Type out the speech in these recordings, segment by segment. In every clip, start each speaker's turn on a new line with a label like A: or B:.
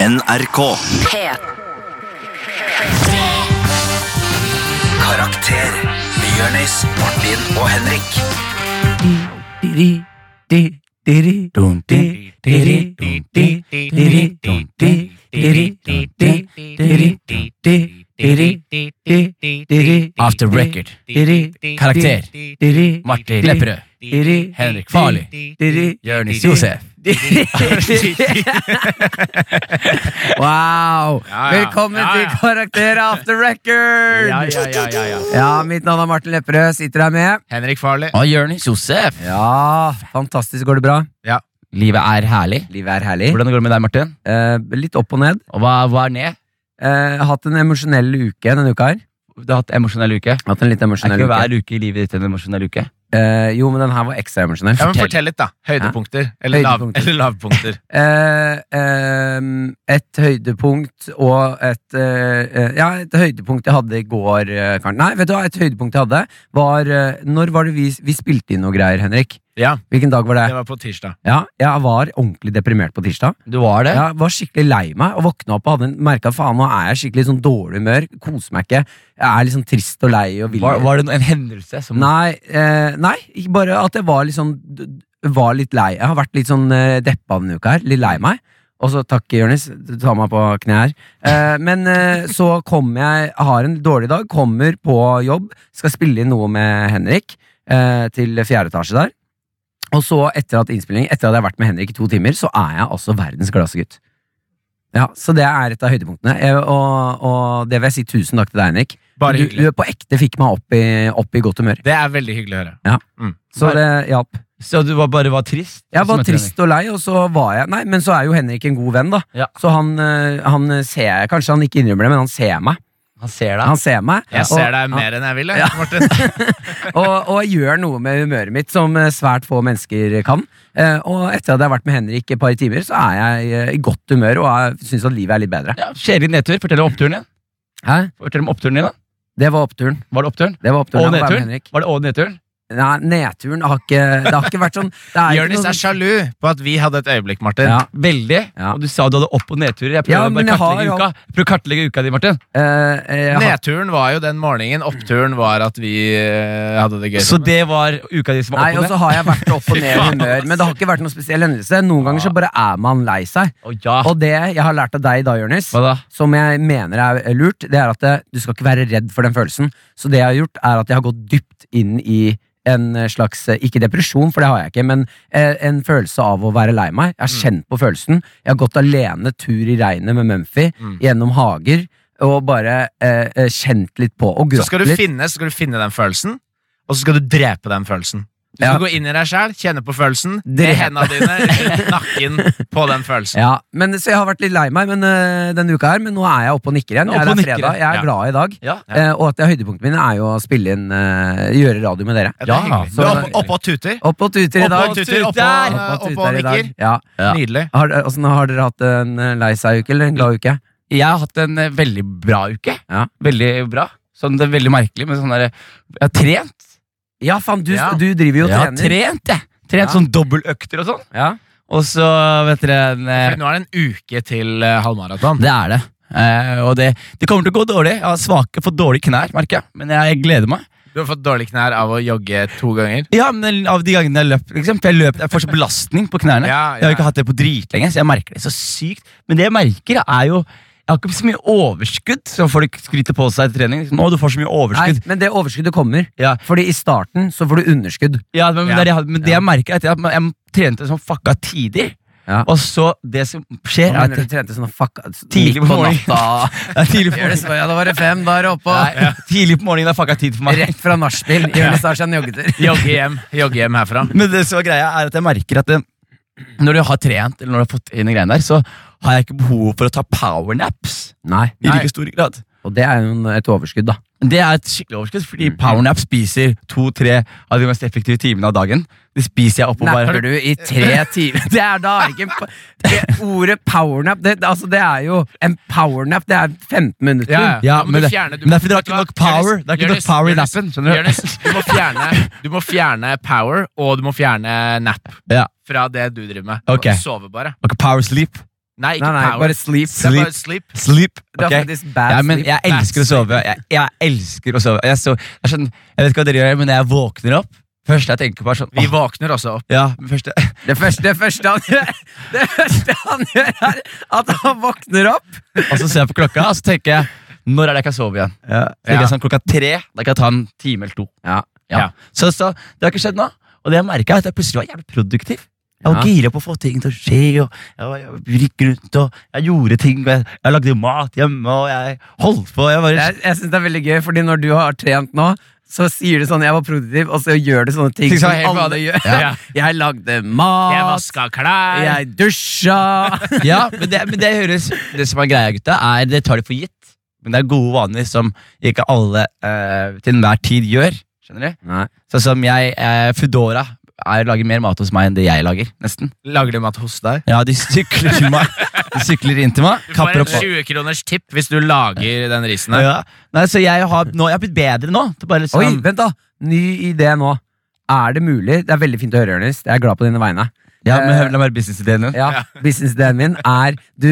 A: NRK. Karakter med Jørnis, Martin og Henrik.
B: After record. Karakter. Martin Lepperød. Henrik Farli. Jonis Josef.
C: Wow!
B: Ja, ja.
C: Velkommen
B: Ja, ja.
C: til Karakter after record!
B: Ja, ja, ja, ja, ja.
C: Ja, mitt navn er Martin Lepperød. Sitter her med
B: Henrik Farli.
D: Og Jonis Josef.
C: Ja, fantastisk. Går det bra?
D: Livet er herlig.
C: Livet er herlig.
D: Hvordan går det med deg, Martin?
C: Eh, litt opp og ned.
D: Og hva, hva er ned?
C: Eh, jeg har hatt en emosjonell uke denne uka her.
D: Du har hatt emosjonell uke. Er
C: Hatt en litt
D: ikke
C: emosjonell uke.
D: hver uke i livet ditt en emosjonell uke?
C: Eh, jo, men den her var ekstra emosjonell.
B: Ja, men fortell litt, da. Høydepunkter. Eller, lav,
C: Høydepunkter.
B: eller lavpunkter.
C: Eh, ehm, et høydepunkt og et eh, eh, Ja, et høydepunkt jeg hadde i går eh, Karen. Nei, vet du hva, et høydepunkt jeg hadde var eh, Når var det vi, vi spilte inn noe greier, Henrik?
B: Ja,
C: Hvilken dag var det?
B: det var på tirsdag.
C: Ja, jeg var ordentlig deprimert på tirsdag.
D: Du var det?
C: Jeg var skikkelig lei meg og våkna opp og hadde merka faen, nå er jeg skikkelig i sånn dårlig humør. Koser meg ikke. Jeg er litt sånn trist og lei og vil
D: Var, var det no- en hendelse som
C: Nei, eh, nei, ikke bare at jeg var litt sånn d- d- Var litt lei. Jeg har vært litt sånn eh, deppa denne uka her. Litt lei meg. Og så takk, Jonis. Du tar meg på kne her. Eh, men eh, så kommer jeg Har en dårlig dag. Kommer på jobb. Skal spille inn noe med Henrik eh, til fjerde etasje der. Og så, etter at innspilling Etter at jeg har vært med Henrik i to timer, så er jeg altså verdens gladeste gutt. Ja, Så det er et av høydepunktene. Jeg, og, og det vil jeg si tusen takk til deg, Henrik.
B: Bare
C: du,
B: hyggelig.
C: du på ekte fikk meg opp i, opp i godt humør.
B: Det er veldig hyggelig å høre.
C: Så
D: Bare-
C: det hjalp.
D: Så du var, bare var trist?
C: Jeg
D: Som
C: var
D: et
C: trist og lei, og så var jeg Nei, men så er jo Henrik en god venn, da.
D: Ja.
C: Så han, eh, han ser jeg Kanskje han ikke innrømmer det, men han ser meg.
D: trening. Han ser deg.
C: Han ser meg
B: Jeg ser deg
C: og,
B: mer enn jeg vil, jeg, Martin.
C: og, og gjør noe med humøret mitt som eh, svært få mennesker kan. Eh, Og etter at jeg har vært med Henrik et par timer, så er jeg eh, i godt humør og syns at livet er litt bedre.
D: Ja, Kjedelig nedtur. Fortell om oppturen din.
C: Hæ?
D: Fortell om oppturen din da
C: Det var oppturen.
D: Var det oppturen?
C: Det var oppturen. Jeg
D: Og
C: var med
D: nedturen?
C: Henrik.
D: Var det og nedturen?
C: Nei, nedturen har ikke Det har ikke vært sånn. Det er ikke
B: Jonis
C: noe
B: er sjalu på at vi hadde et øyeblikk, Martin.
C: Ja.
D: Veldig.
C: Ja.
D: Og du sa du hadde opp- og nedturer. Jeg prøver
C: Ja,
D: å
C: men
D: bare
C: jeg har jo-
D: kartlegge uka Jeg prøver å kartlegge uka di, Martin.
C: eh, eh, jeg har-
B: Nedturen var jo den morgenen. Oppturen var at vi eh, hadde det gøy.
D: Så det var uka di som var
C: Nei, og
D: opp og ned?
C: så har jeg vært opp og ned i humør, men det har ikke vært noen spesiell hendelse. Noen ganger
B: Ah.
C: så bare er man lei seg.
D: Å, ja.
C: Og det jeg har lært av deg da, Jonis,
D: Hva da?
C: som jeg mener er lurt, det er at eh, du skal ikke være redd for den følelsen. Så det jeg har gjort, er at jeg har gått dypt inn i en eh, slags, eh, ikke depresjon, for det har jeg ikke, men eh, en følelse av å være lei meg. Jeg
B: Mm.
C: har kjent på følelsen. Jeg har gått alene tur i regnet med Mumphy,
B: Mm.
C: gjennom hager, og bare eh, eh, kjent litt på, og
B: Så skal
C: grått
B: du
C: litt.
B: finne, så skal du finne den følelsen, og så skal du drepe den følelsen. Du skal
C: Ja.
B: gå inn i deg sjæl, kjenne på følelsen, med
C: Drepe.
B: henda dine, rundt nakken på den følelsen.
C: Ja, men så jeg har vært litt lei meg men, øh, denne uka her, men nå er jeg oppe og nikker igjen.
D: Oppe
C: Jeg er,
D: og
C: der
D: nikker
C: fredag. Jeg er
B: ja.
C: glad i dag.
D: Ja.
C: Eh, og at det er høydepunktet min er jo å spille inn øh, gjøre radio med dere.
B: Ja, det er
D: Ja,
B: hyggelig.
C: så-
B: Du er opp- Oppe og tuter.
C: Opp og tuter i
B: Opp
C: dag.
B: og tuter, opp
D: Der!
B: og-
C: Opp
B: opp
C: og
B: og
C: tuter i dag.
B: nikker.
C: Ja.
D: Ja.
B: Nydelig.
C: Har, altså, nå har dere hatt en øh, lei seg-uke eller en glad uke?
D: Jeg har hatt en eh, veldig bra uke.
C: Ja.
D: Veldig bra. Sånn, det er veldig merkelig, men sånn der, jeg har trent.
C: Ja, faen, du,
B: Ja.
C: du driver jo og
D: Jeg har
C: trener.
D: trent, jeg. Trent
C: Ja.
D: sånn dobbeltøkter og sånn.
C: Ja.
D: Og så, vet dere en, eh,
B: For Nå er det en uke til eh, halvmaraton.
D: Det er det. Eh, og det, det kommer til å gå dårlig. Jeg har svake, fått dårlige knær, merker jeg. Men jeg gleder meg.
B: Du har fått dårlige knær av å jogge to ganger.
D: Ja, men Av de gangene jeg har løpt, liksom, for jeg, løp, jeg får så belastning på knærne.
B: Ja,
D: Jeg har
B: ja.
D: ikke hatt det på dritlenge, så jeg merker det så sykt. Men det jeg merker, er jo Jeg har ikke så mye overskudd, som folk skryter på seg etter trening. Liksom, å, du får så mye
C: Nei,
D: overskudd.
C: men det overskuddet kommer.
D: Ja.
C: Fordi i starten så får du underskudd.
D: Ja, men, men
B: Ja.
D: det er det jeg hadde- men det jeg merker er at jeg, jeg trente som fucka tider.
C: Ja.
D: Og så det som skjer
C: Hva
D: er at
C: mener du trente sånn fuck midt
D: Tidlig på morgenen.
C: natta?
D: Ja, tidlig, på
C: Gjør det
D: morgenen,
C: så, ja, da var det fem, da er det oppå.
D: Nei, tidlig på morgenen er fucka tid for meg.
C: Rett fra nachspiel. Jonis tar seg en joggetur.
B: Jogge hjem, jogge hjem herfra.
D: Men det som er greia er at jeg merker at det, når du har trent, eller når du har fått inn de greiene der, så har jeg ikke behov for å ta powernaps
C: Nei.
D: i
B: Nei.
D: like stor grad.
C: Og det er jo en- et overskudd, da.
D: Det er et skikkelig overskudd,
C: Mm.
D: fordi powernap spiser to-tre av de mest effektive timene av dagen. Det spiser jeg opp og
C: Napper
D: bare
C: du i tre timer Det er da ikke en, pa- det, Ordet powernap det, altså det er jo En powernap, det er 15 minutter.
B: Ja,
D: Ja,
B: men
D: men
B: du
D: det-
B: fjerner- du-
D: men det er fordi det er ikke
B: vet
D: nok
B: du hva?
D: power.
B: Jonis,
D: Det er ikke nok
B: Jonis,
D: power i
B: Jonis,
D: nappen, skjønner du?
B: Jonis, du må, fjerne, du må fjerne power, og du må fjerne nap
D: Ja,
B: fra det du driver med.
D: Ok.
B: Sove bare.
D: og ikke power sleep.
E: Nei, ikke
C: Nei, nei,
E: power.
C: bare sleep.
E: Det er bare sleep.
D: Sleep.
C: Det er
D: ok?
C: faktisk bad
D: Ja, men
C: sleep.
D: jeg elsker å sove. Jeg, jeg elsker å sove. Jeg, så, jeg, skjønner, jeg vet ikke hva dere gjør, men når jeg våkner opp Først jeg tenker på er sånn
E: Vi
D: åh,
E: våkner også opp.
D: ja, men først,
C: Det første, det, første han gjør, det første han gjør, er at han våkner opp.
D: Og så ser jeg på klokka, og så tenker jeg Når er det jeg kan sove igjen? Så tenker jeg sånn, Klokka tre. Da kan jeg ta en time eller to.
C: Ja.
D: Ja. Så, så det har ikke skjedd nå. Og det jeg merket er at jeg plutselig var jævlig produktiv. Jeg var
C: Ja.
D: gira på å få ting til å skje. Og jeg, var, jeg gikk rundt og jeg gjorde ting. Og jeg, jeg lagde mat hjemme, og jeg holdt på. Jeg bare,
C: Jeg, jeg synes det er veldig gøy, fordi når du har trent nå, så sier du sånn 'jeg var produktiv', og så gjør du sånne ting
D: Ting
C: som
D: som er helt
C: alle
D: vanlig.
C: gjør.
D: Ja.
C: Jeg lagde mat, jeg,
E: klær.
C: dusja
D: ja, men det, men det høres Det som er greia, gutta, er det tar de for gitt. Men det er gode vaner som ikke alle eh, til enhver tid gjør. Skjønner du?
C: Nei.
D: Sånn som jeg, eh, Foodora er, lager mer mat hos meg enn det jeg lager. nesten
E: Lager de mat hos deg?
D: Ja, De sykler til meg De sykler inn til meg.
E: Du får
D: Kapper
E: en
D: opp
E: 20 kroners tipp hvis du lager den risen her.
D: ja. Nei, så jeg har, nå, jeg har blitt bedre nå. til bare
C: Oi,
D: liksom,
C: vent da! Ny idé nå. Er det mulig? Det er veldig fint å høre, Jonis. Jeg er glad på dine vegne.
E: Eh,
D: ja, men hør, La meg høre businessideen din.
C: Ja, Businessideen min er Du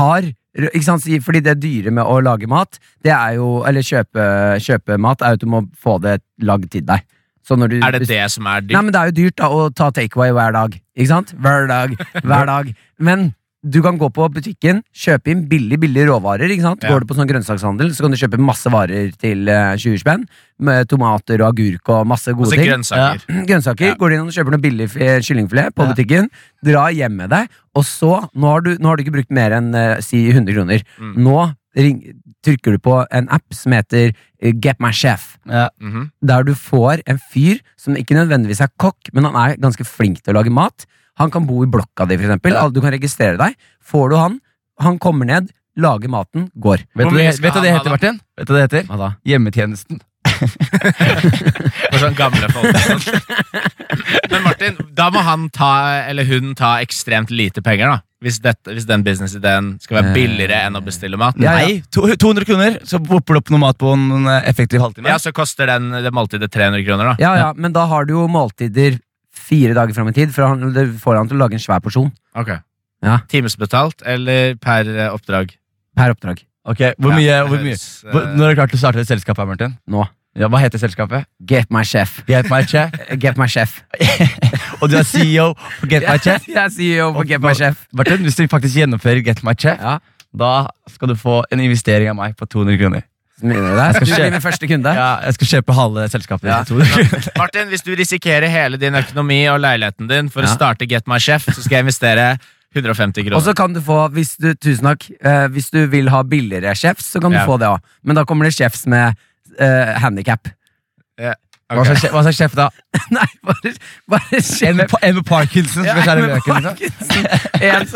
C: har ikke sant? si- Fordi det dyre med å lage mat, det er jo Eller kjøpe, kjøpe mat, er jo at du må få det lagd til deg. Så når du
E: Er det det som er
C: Nei,
E: dyrt?
C: men Det er jo dyrt da å ta takeaway hver dag. Ikke sant? Hver dag, hver dag Men du kan gå på butikken, kjøpe inn billig billig råvarer. Ikke sant?
E: Ja.
C: Går du på sånn grønnsakshandel, så kan du kjøpe masse varer til eh, 20 spenn. Med tomater og agurk og masse gode
E: Altså
C: ting.
E: grønnsaker.
C: Grønnsaker.
E: Ja.
C: Går du inn og kjøper noe billig fi- kyllingfilet på
D: Ja.
C: butikken, drar hjem med deg, og så Nå har du, nå har du ikke brukt mer enn eh, si 100 kroner.
E: Mm.
C: Nå ring, trykker du på en app som heter eh, Get my chef
D: Ja.
E: Mhm.
C: der du får en fyr som ikke nødvendigvis er kokk, men han er ganske flink til å lage mat. Han kan bo i blokka di, for eksempel.
D: Ja.
C: Alle- Du kan registrere deg. Får du han, han kommer ned, lager maten, går.
D: Vet
E: Hvor
D: du
E: mye
D: hva det-
E: skal
D: vet du hva det
E: han ha,
D: heter, Martin? Vet du hva det heter?
C: Hva da?
D: Hjemmetjenesten.
E: For sånn gamle folk. og sånn. Men Martin, da må han ta, eller hun ta ekstremt lite penger, da. Hvis, dette, hvis den businessideen skal være
C: Eh.
E: billigere enn å bestille mat.
C: Ja, ja.
D: Nei, to, 200 kroner, så popper det opp noe mat på en eh, effektiv halvtime.
E: Ja, så koster den, det måltidet 300 kroner, da.
C: Ja, ja, men da har du jo måltider fire dager fram i tid, for han, det får han til å lage en svær porsjon
E: Ok.
C: Ja.
E: Timesbetalt eller per eh, oppdrag?
C: per oppdrag.
D: Ok, Hvor mye?
E: Ja, det
D: hvor mye?
E: høres, eh,
D: Hvor, når har du klart å starte et selskap her, Martin?
C: Nå.
D: Ja, Hva heter selskapet?
C: Get my chef.
D: Get My Chef.
C: Eh, Get my chef.
D: Og du er CEO for Get My Chef.
C: Jeg sier jo på Get my chef.
D: Martin, hvis du faktisk gjennomfører Get My Chef,
C: Ja.
D: da skal du få en investering av meg på 200 kroner.
C: Så mener du det?
D: skal
C: Du
D: kjøpe-
C: blir min første kunde.
D: Ja, Jeg skal kjøpe halve selskapet.
C: Ja.
D: Ja. 200 kroner.
E: Martin, hvis du risikerer hele din økonomi og leiligheten din for
C: Ja.
E: å starte Get my chef, så skal jeg investere 150 kroner.
C: Og så kan du få, hvis du, tusen takk, eh, hvis du vil ha billigere chefs, så kan du
E: Ja.
C: få det òg. Men da kommer det chefs med uh, handikap.
D: Hva slags sjef- Hva slags sjef da?
C: Nei, bare, bare
D: En
C: chef.
D: med, pa- en med Parkinson som skal
C: Ja,
D: skjære
C: med
D: løken? Liksom.
C: Parkinson. En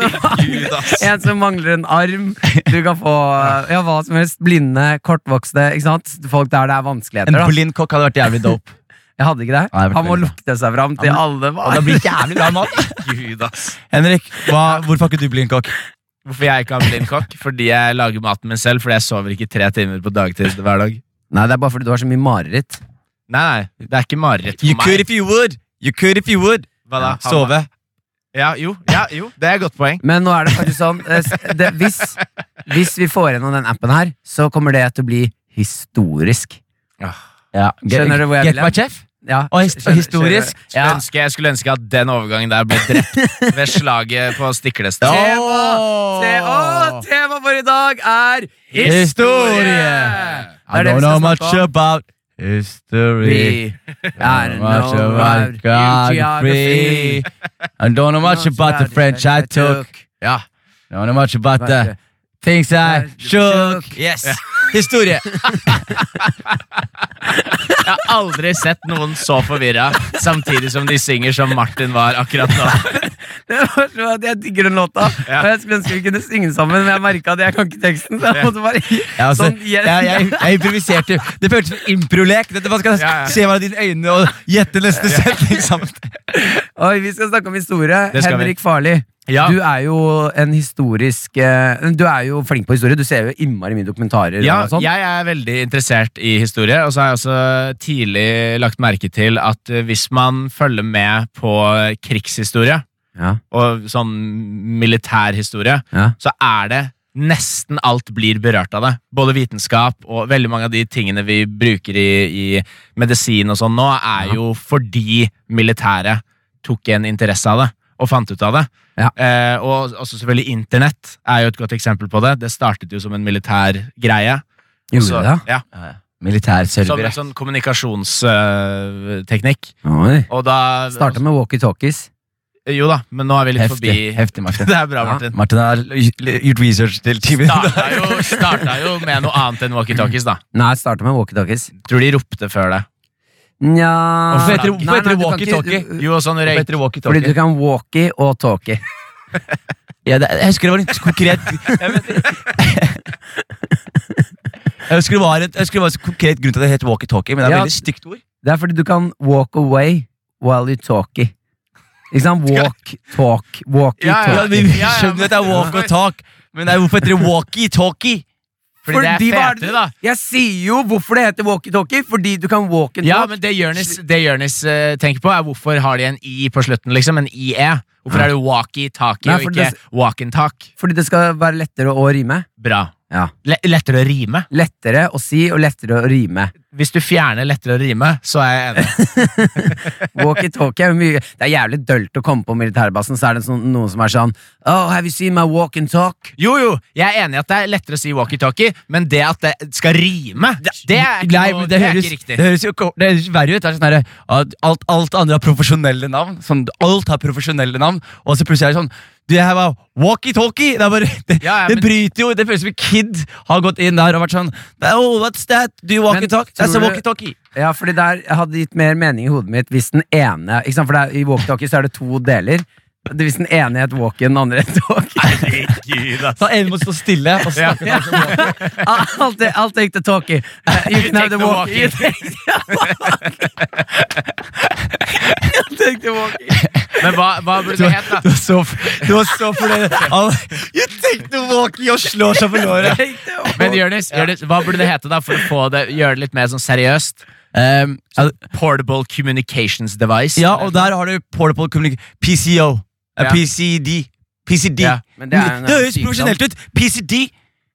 C: som, en som mangler en arm. Du kan få eh, ja, hva som helst. Blinde, kortvokste. Ikke sant? Folk der det er
D: En
C: vanskeligheter. Da.
D: blind kokk hadde vært jævlig dope.
C: Jeg hadde ikke det.
D: Nei, jeg vet
C: Han må
D: ikke.
C: lukte seg fram til alle.
D: Og det blir jævlig bra mat. Henrik, hva, hvorfor er ikke du blind kokk?
E: Hvorfor jeg ikke har blind kokk? Fordi jeg lager maten min selv, fordi jeg sover ikke tre timer på dagtid hver dag.
C: Nei, det er bare fordi du har så mye mareritt.
E: Nei, nei, det er ikke mareritt
D: You
E: for
D: could
E: meg.
D: if you would. You could if you would.
E: Hva da? Ha-
D: Sove.
E: Ja, jo, ja, jo, det er et godt poeng.
C: Men nå er det faktisk sånn eh, s- det, hvis, hvis vi får gjennom den appen her, så kommer det til å bli historisk. Skjønner du hvor jeg
D: Get
C: vil
D: my
C: hen?
D: chef?
C: Ja,
D: Og his-
C: skjønner-
D: historisk?
C: skjønner-
E: Skulle ønske, jeg skulle ønske at den overgangen der ble drept ved slaget på Stiklestad.
D: Åh!
C: Te- å, tema for i dag er
D: Historie!
C: Det
D: I
C: er det
D: don't
C: vi
D: know
C: skal
D: much
C: snakke om.
D: about history.
C: Vi
D: I
C: er
D: don't
C: nå
D: know much about geography.
C: geografi.
D: I don't know much about the French I took. Ja. I don't know much about the things I shook. Yes. Historie.
E: Jeg har aldri sett noen så forvirra samtidig som de synger som Martin var akkurat nå.
C: Det var så at Jeg digger den låta,
E: Ja.
C: og jeg skulle ønske vi kunne synge den sammen, men jeg merket at jeg kan ikke teksten. Så jeg måtte bare
D: Ja, altså,
C: Sånn,
D: jeg, jeg, jeg improviserte. Det føltes som improlek. Dette, man skal
E: Ja, ja.
D: se hverandre i dine øyne og gjette neste setning sammen.
C: Oi, Vi skal snakke om historie.
E: Det skal vi.
C: Henrik Farli,
E: Ja.
C: du er jo en historisk eh, Du er jo flink på historie. Du ser jo innmari mye dokumentarer.
E: Ja,
C: og sånn.
E: jeg er veldig interessert i historie, og så har jeg også tidlig lagt merke til at eh, hvis man følger med på krigshistorie,
C: Ja,
E: og sånn militærhistorie,
C: ja.
E: så er det nesten alt blir berørt av det. Både vitenskap og veldig mange av de tingene vi bruker i, i medisin og sånn nå, er jo fordi militæret tok en interesse av det og fant ut av det.
C: Ja.
E: Eh, og også selvfølgelig internett er jo et godt eksempel på det. Det startet jo som en militær greie.
C: Gjorde
D: Altså-
E: Så-
C: du det?
E: Ja, som
D: Militærservere.
E: en sånn kommunikasjonsteknikk.
C: Oi.
E: Og da
C: Starta med walkietalkies.
E: Jo da, men nå er vi litt
D: Heftig,
E: forbi.
D: heftig, Martin.
E: Det er bra,
C: Ja.
E: Martin.
D: Martin har gjort research til timen.
E: starta jo, starta jo med noe annet enn walkietalkies, da.
C: Nei, starta med walkietalkies.
E: Tror de ropte før det.
C: Nja
D: Hvorfor heter det-
C: Nei, nei, du
D: hvorfor heter det
C: kan ikke-
D: walkie-talkie?
C: du-
E: Jo, og sånn røyk.
C: Fordi du
D: Fordi
C: kan walkie og talkie.
D: Ja, det, jeg husker det var litt konkret Jeg, vet, jeg husker det var et, jeg husker det var en konkret grunn til at det het walkietalkie, men det er et
C: Ja.
D: veldig stygt ord.
C: Det er fordi du kan walk away while you talkie. Ikke sant? Walk, talk, walkie,
E: Ja,
D: Ja,
C: talk.
D: vi
E: ja, ja,
D: skjønner at det er walk og talk, men det er, hvorfor heter det walkie-talkie?
E: Fordi det er
C: Fordi hva er det-
E: fetere, da.
C: Jeg sier jo hvorfor det heter walkie-talkie, fordi du kan walk and
E: Ja,
C: talk.
E: men det Jonis det Jonis, eh, tenker på, er hvorfor har de en i på slutten, liksom? En ie. Hvorfor er det walkie-talkie
C: Nei,
E: og
C: for
E: ikke
C: det-
E: walk and talk?
C: Fordi det skal være lettere å rime.
E: Bra.
C: Ja.
E: Le lettere å rime.
C: Lettere å si og lettere å rime.
E: Hvis du fjerner lettere å rime, så er jeg enig.
C: Walkie-talkie er jo mye Det er jævlig dølt å komme på militærbasen, så er det sånn, noen som er sånn Oh, have you seen my walk and talk?
E: Jo, jo, jeg er enig i at det er lettere å si walkie-talkie, men det at det skal rime, det er ikke,
D: Nei,
E: noe,
D: men
E: det er
D: høres-
E: ikke riktig.
D: Det høres jo ko- det høres verre ut. Det er sånn der, at alt, alt andre har profesjonelle navn. Sånn, alt har profesjonelle navn, og så plutselig er det sånn Det her var walkie-talkie! Det, er bare, det,
E: Ja, ja,
D: det
E: men-
D: bryter jo Det føles som en kid har gått inn der og vært sånn Oh, what's that? Do you walkie-talk?
C: Men
D: That's a
C: tror du-
D: walkie-talkie.
C: Ja, fordi der hadde det gitt mer mening i hodet mitt hvis den ene ikke sant? For det er, i walkie-talkie så er det to deler. Hvis den ene het walk and den andre het talk.
D: Så en må stå stille og snakke.
C: I'll, ta- I'll take the talkie. Uh, you can have the walkie. You take the walkie.
E: Men hva, hva burde det hett,
D: Du
E: da?
D: var så, f- du var så fornøyd. Han- You take the walkie og slår seg på låret.
C: Take the walkie.
E: Men Jonis, Jonis, hva burde det hete da for å få det, gjøre det litt mer sånn seriøst? Sånn
D: Um,
E: Portable communications device.
D: ja, og der har du portable communication PCO. Eh,
E: Ja.
D: PCD. PCD.
E: Ja,
C: men det er en eh, sånn. annen
D: høres
C: sykdom.
D: profesjonelt ut! PCD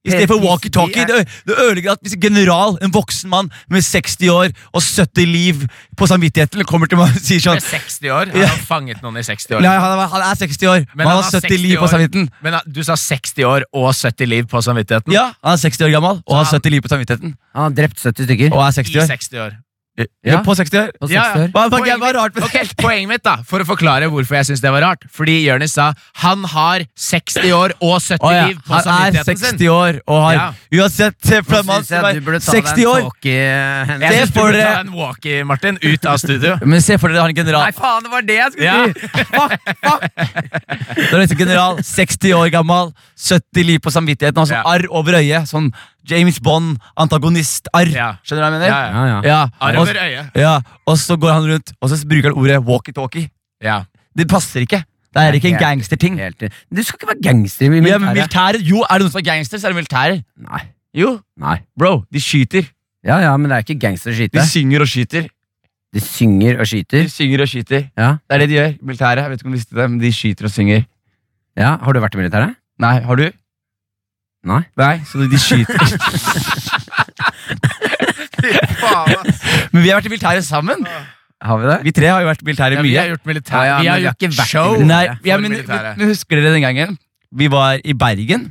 D: i stedet for
C: PCD
D: walkietalkie.
C: er-
D: Det, ø- det ødelegger at hvis en general, en voksen mann med 60 år og 70 liv på samvittigheten, kommer til meg og sier sånn
E: Han er 60 år. Han har fanget noen i 60 år.
D: Nei, han, er- han er 60 år, men han har 70 liv på
E: år.
D: samvittigheten.
E: Men han- du sa 60 år og 70 liv på samvittigheten.
D: Ja, Han er 60 år gammel og har
E: Mm. Så han-
D: 70 liv på samvittigheten.
C: Han har drept 70 stykker.
D: Og er
E: I
D: 60 år.
E: 60 år.
D: Ja, På 60 år.
C: På 60
E: Ja, ja.
C: år.
D: Hva, hva,
E: Poenget
D: hva er rart med
E: Ok, poenget mitt, da, for å forklare hvorfor jeg syns det var rart Fordi Jonis sa han har 60 år og 70
D: Å ja,
E: liv på
D: Han er
E: samvittigheten
D: 60
E: sin.
D: år og har
E: Ja.
D: Uansett eh, fra
C: Nå
D: mann
C: synes jeg
D: som
C: at
D: er
C: du burde ta deg
D: 60
C: en
D: år
C: talkie, Henrik.
E: Jeg
D: Det
E: synes eh, du
D: får
E: burde
D: dere-
E: ta en walkie, Martin. Ut av studio.
D: Men se for dere har en general
C: Nei, faen, det var det jeg skulle
E: Ja.
C: si! Fuck, fuck!
D: Da er det en general, 60 år gammel 70 liv på samvittigheten Altså
E: Ja.
D: arr over øyet Sånn James Bond, antagonist, arr
E: Ja.
D: Skjønner du hva jeg mener?
E: Ja, ja.
D: Ja,
E: Arr
D: og,
E: over øyet.
D: ja, og så går han rundt Og så bruker han ordet walkie-talkie
E: Ja.
D: Det passer ikke Det er ikke en
C: helt-
D: gangster-ting
C: Helt til- Du skal ikke være gangster i
D: ja,
C: militæret.
D: men militære, jo, er det noen som er gangster, så er det militære
C: Nei.
D: Jo,
C: Nei.
D: bro, de skyter
C: Ja, ja, men det er ikke gangster å
D: De
C: skyte.
D: synger og skyter
C: De synger og
D: De
C: skyter.
D: synger og skyter
C: Ja.
D: Det er det de gjør, militære Jeg vet ikke om du visste det, men de skyter og synger
C: ja, Har du vært i militæret?
D: Nei, har du?
C: Nei.
D: Nei, så
E: Altså,
D: de skyter
E: Faen, ass.
D: Men vi har vært i militæret sammen
C: Har vi det?
D: Vi tre har jo vært i militæret
E: Ja,
D: mye
E: vi har gjort militær
C: Ja, ja, men
E: Vi har
C: vi har
E: gjort
C: ikke vært i
E: show
D: Nei,
C: Militæret.
D: ja,
E: for
D: men,
E: militæret.
D: men husker dere den gangen? Vi var i Bergen,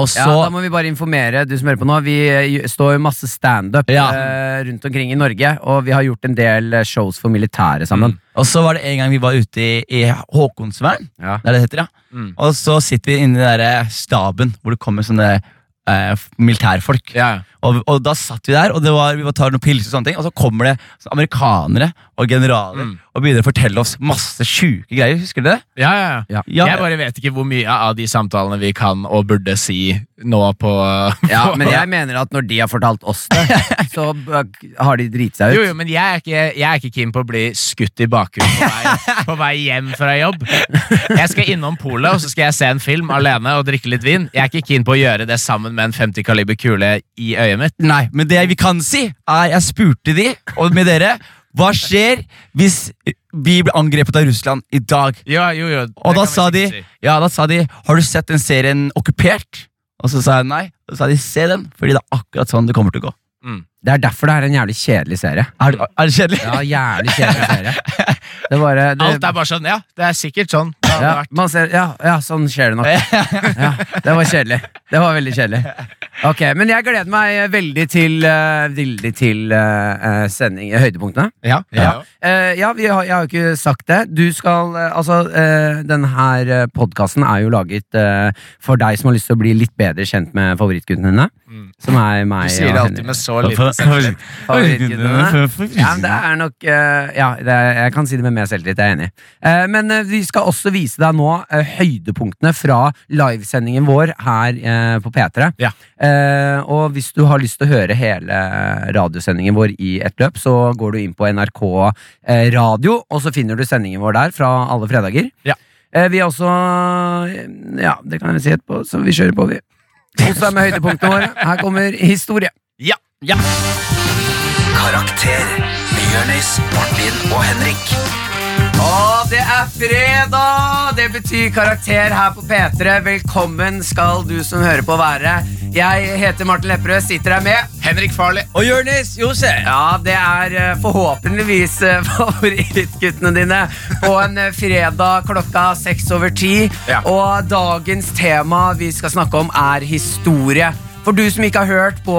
D: og så
C: Ja, da må vi bare informere du som hører på nå. Vi eh, står jo masse standup
D: Ja.
C: eh, rundt omkring i Norge, og vi har gjort en del eh, shows for militæret sammen.
D: Og så var det en gang vi var ute i, i Håkonsvern,
C: Ja.
D: det er det det heter, ja.
E: Mm.
D: Og så sitter vi inne i den der staben hvor det kommer sånne eh, f- militærfolk.
E: Ja, ja.
D: Og, og da satt vi der, og det var, vi var tar noen pilser og sånne ting, og så kommer det sånne amerikanere og generaler
E: Mm.
D: og begynner å fortelle oss masse sjuke greier. Husker dere det?
E: Ja, ja, ja.
D: Ja.
E: Jeg bare vet ikke hvor mye av de samtalene vi kan og burde si nå på
C: Ja, men jeg mener at når de har fortalt oss det, så b- har de driti seg ut.
E: Jo, jo, men jeg er, ikke, jeg er ikke keen på å bli skutt i bakgrunnen på vei, på vei hjem fra jobb. Jeg skal innom polet, og så skal jeg se en film alene og drikke litt vin. Jeg er ikke keen på å gjøre det sammen med en 50 kaliber kule i øyet mitt.
D: Nei, men det vi kan si, er jeg spurte de, og med dere, Hva skjer hvis vi blir angrepet av Russland i dag?
B: Ja, jo, jo. det
D: Og da
B: kan vi
D: sa, de,
B: sikkert si.
D: ja, da sa de Har du sett den serien Okkupert? Og så sa jeg nei. Og så sa de se den, fordi det er akkurat sånn det kommer til å gå.
C: Det er derfor det er en jævlig kjedelig serie.
D: Er, det- er det kjedelig?
C: Ja, jævlig kjedelig serie. Det er bare det,
B: Alt er bare sånn, ja, det er sikkert sånn. Det hadde
C: ja,
B: vært-
C: man ser, ja, ja, sånn skjer det nok. Ja, det var kjedelig. Det var veldig kjedelig. Ok, Men jeg gleder meg veldig til, eh, veldig til eh, eh, sending høydepunktene.
B: Ja,
C: Ja, Eh, ja vi har, jeg har jo ikke sagt det. Du skal, eh, altså, eh, den her podkasten er jo laget eh, for deg som har lyst til å bli litt bedre kjent med favorittguttene dine. Som er
B: Mm.
C: meg.
B: Du sier det
C: og
B: alltid
C: Henrik.
B: med så liten selvtillit.
C: Ja, men det er nok eh, Ja, det er, jeg kan si det med mer selvtillit, jeg er enig. Eh, men eh, vi skal også vise deg nå eh, høydepunktene fra livesendingen vår her eh, på P3.
B: Ja.
C: Eh, og hvis du har lyst til å høre hele radiosendingen vår i ett løp, så går du inn på NRK eh, Radio, og så finner du sendingen vår der fra alle fredager.
B: Ja.
C: Eh, vi har også eh, Ja, det kan jeg si etterpå, så vi kjører på, vi. Kos deg med høydepunktene våre. Her kommer historie.
B: Ja.
A: Karakter Bjørnis, Martin og Henrik
C: Og det er fredag! Det betyr karakter her på P3. Velkommen skal du som hører på være. Jeg heter Martin Lepperød, sitter her med.
B: Henrik Farley.
D: Og Jonis Josef!
C: Ja, det er eh, forhåpentligvis eh, favorittguttene dine på en eh, fredag klokka seks over ti.
B: Ja.
C: Og dagens tema vi skal snakke om, er historie. For du som ikke har hørt på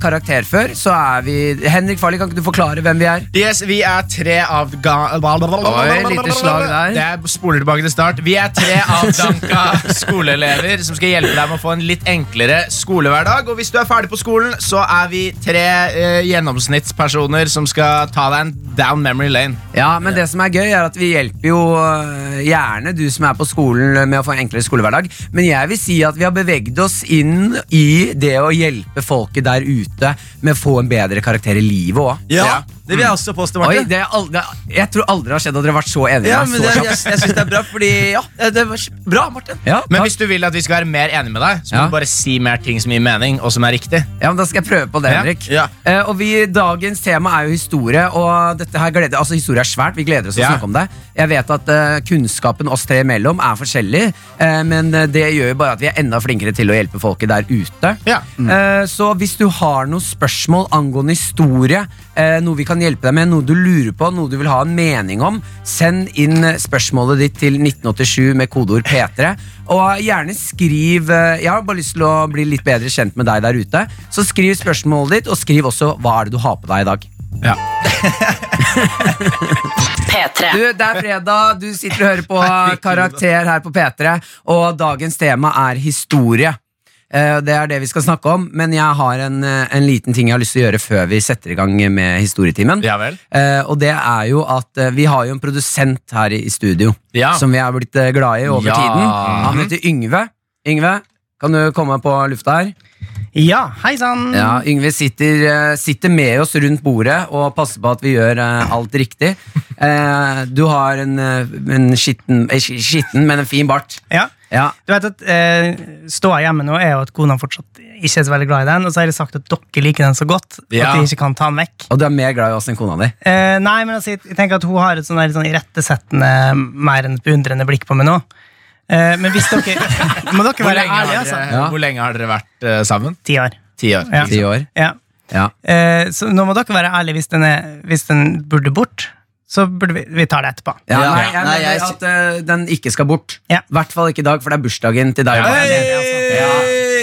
C: karakter før, så er vi Henrik Farley, kan ikke du forklare hvem vi er?
B: Yes, vi er tre av ga...
C: Oi, lite slag der.
B: Jeg spoler tilbake til start. Vi er tre avdanka skoleelever som skal hjelpe deg med å få en litt enklere skolehverdag. Og hvis du er ferdig på skolen, så er vi tre eh, gjennomsnittspersoner som skal ta deg en down memory lane.
C: Ja, men det som er gøy er at vi hjelper jo øh, gjerne du som er på skolen øh, med å få en enklere skolehverdag, men jeg vil si at vi har beveget oss inn i det å hjelpe folket der ute med å få en bedre karakter i livet òg.
D: Ja, det vil jeg også påstå,
C: Oi,
D: Martin.
C: det er aldri, det er- jeg tror aldri det har skjedd at dere har vært så enige.
D: Ja,
C: med meg
D: men
C: så
D: det, jeg,
C: kjapt.
D: jeg syns det er bra, fordi Ja, det, det var kjempe- bra, Martin.
C: ja,
B: Men
C: takk.
B: hvis du vil at vi skal være mer enige med deg, så må
C: Ja.
B: du bare si mer ting som gir mening, og som er riktig.
C: Ja, men Da skal jeg prøve på det,
B: Ja,
C: Henrik.
D: ja.
C: Eh, og vi, Dagens tema er jo historie, og dette her gleder, altså historie er svært. Vi gleder oss til å
B: Ja.
C: snakke om det. Jeg vet at eh, kunnskapen oss tre imellom er forskjellig, eh, men eh, det gjør jo bare at vi er enda flinkere til å hjelpe folket der ute.
B: Ja.
C: Eh, så hvis du har noen spørsmål angående historie, eh, noe vi kan hjelpe deg med, noe du lurer på, noe du vil ha en mening om, send inn eh, spørsmålet ditt til 1987 med kodeord P3. Og gjerne skriv eh, Jeg har bare lyst til å bli litt bedre kjent med deg der ute. Så skriv spørsmålet ditt, og skriv også hva er det du har på deg i dag.
F: P3.
C: Du, det er fredag, du sitter og hører på Karakter her på P3, og dagens tema er historie. Eh, Det er det vi skal snakke om, men jeg har en, eh, en liten ting jeg har lyst til å gjøre før vi setter i gang med historietimen.
B: Ja vel.
C: Eh, og det er jo at eh, vi har jo en produsent her i i studio
B: Ja.
C: som vi er blitt eh, glad i over
B: Ja. Mhm.
C: tiden. Han heter Yngve. Yngve, kan du komme på lufta her?
D: Ja, hei
G: Mm.
D: sann.
C: Ja, Yngve sitter, eh, sitter med oss rundt bordet og passer på at vi gjør eh, alt riktig. Eh, Du har en, eh, en skitten, eh, sk- skitten, men en fin bart.
G: Ja.
C: Ja,
G: Du vet at eh, Ståa hjemme nå er jo at kona fortsatt ikke er så veldig glad i den, og så har jeg sagt at dere liker den så godt
B: Ja.
G: at de ikke kan ta den vekk.
C: Og du er mer glad i oss enn kona di.
G: Eh, nei, men altså, jeg jeg tenker at hun har et sånn der, sånn irettesettende, mer enn et beundrende blikk på meg nå. Eh, men hvis dere Må dere
B: Hvor
G: være
B: lenge, har
G: ærlige,
B: dere,
G: altså.
C: Ja.
B: hvor lenge har dere vært eh, sammen?
G: Ti år.
B: Ti år.
G: Ja.
C: Ti år.
G: Ja.
C: Ja.
G: Eh, så nå må dere være ærlige hvis den, er, hvis den burde bort. Så burde vi, vi tar det etterpå.
C: Ja,
D: Ja.
C: nei, jeg
D: Nei,
C: mener
D: jeg sy-
C: at eh, den ikke skal bort.
G: Ja.
C: I hvert fall ikke i dag, for det er bursdagen til deg.
B: Ja.
C: Martin.
D: Hei!
C: Ja,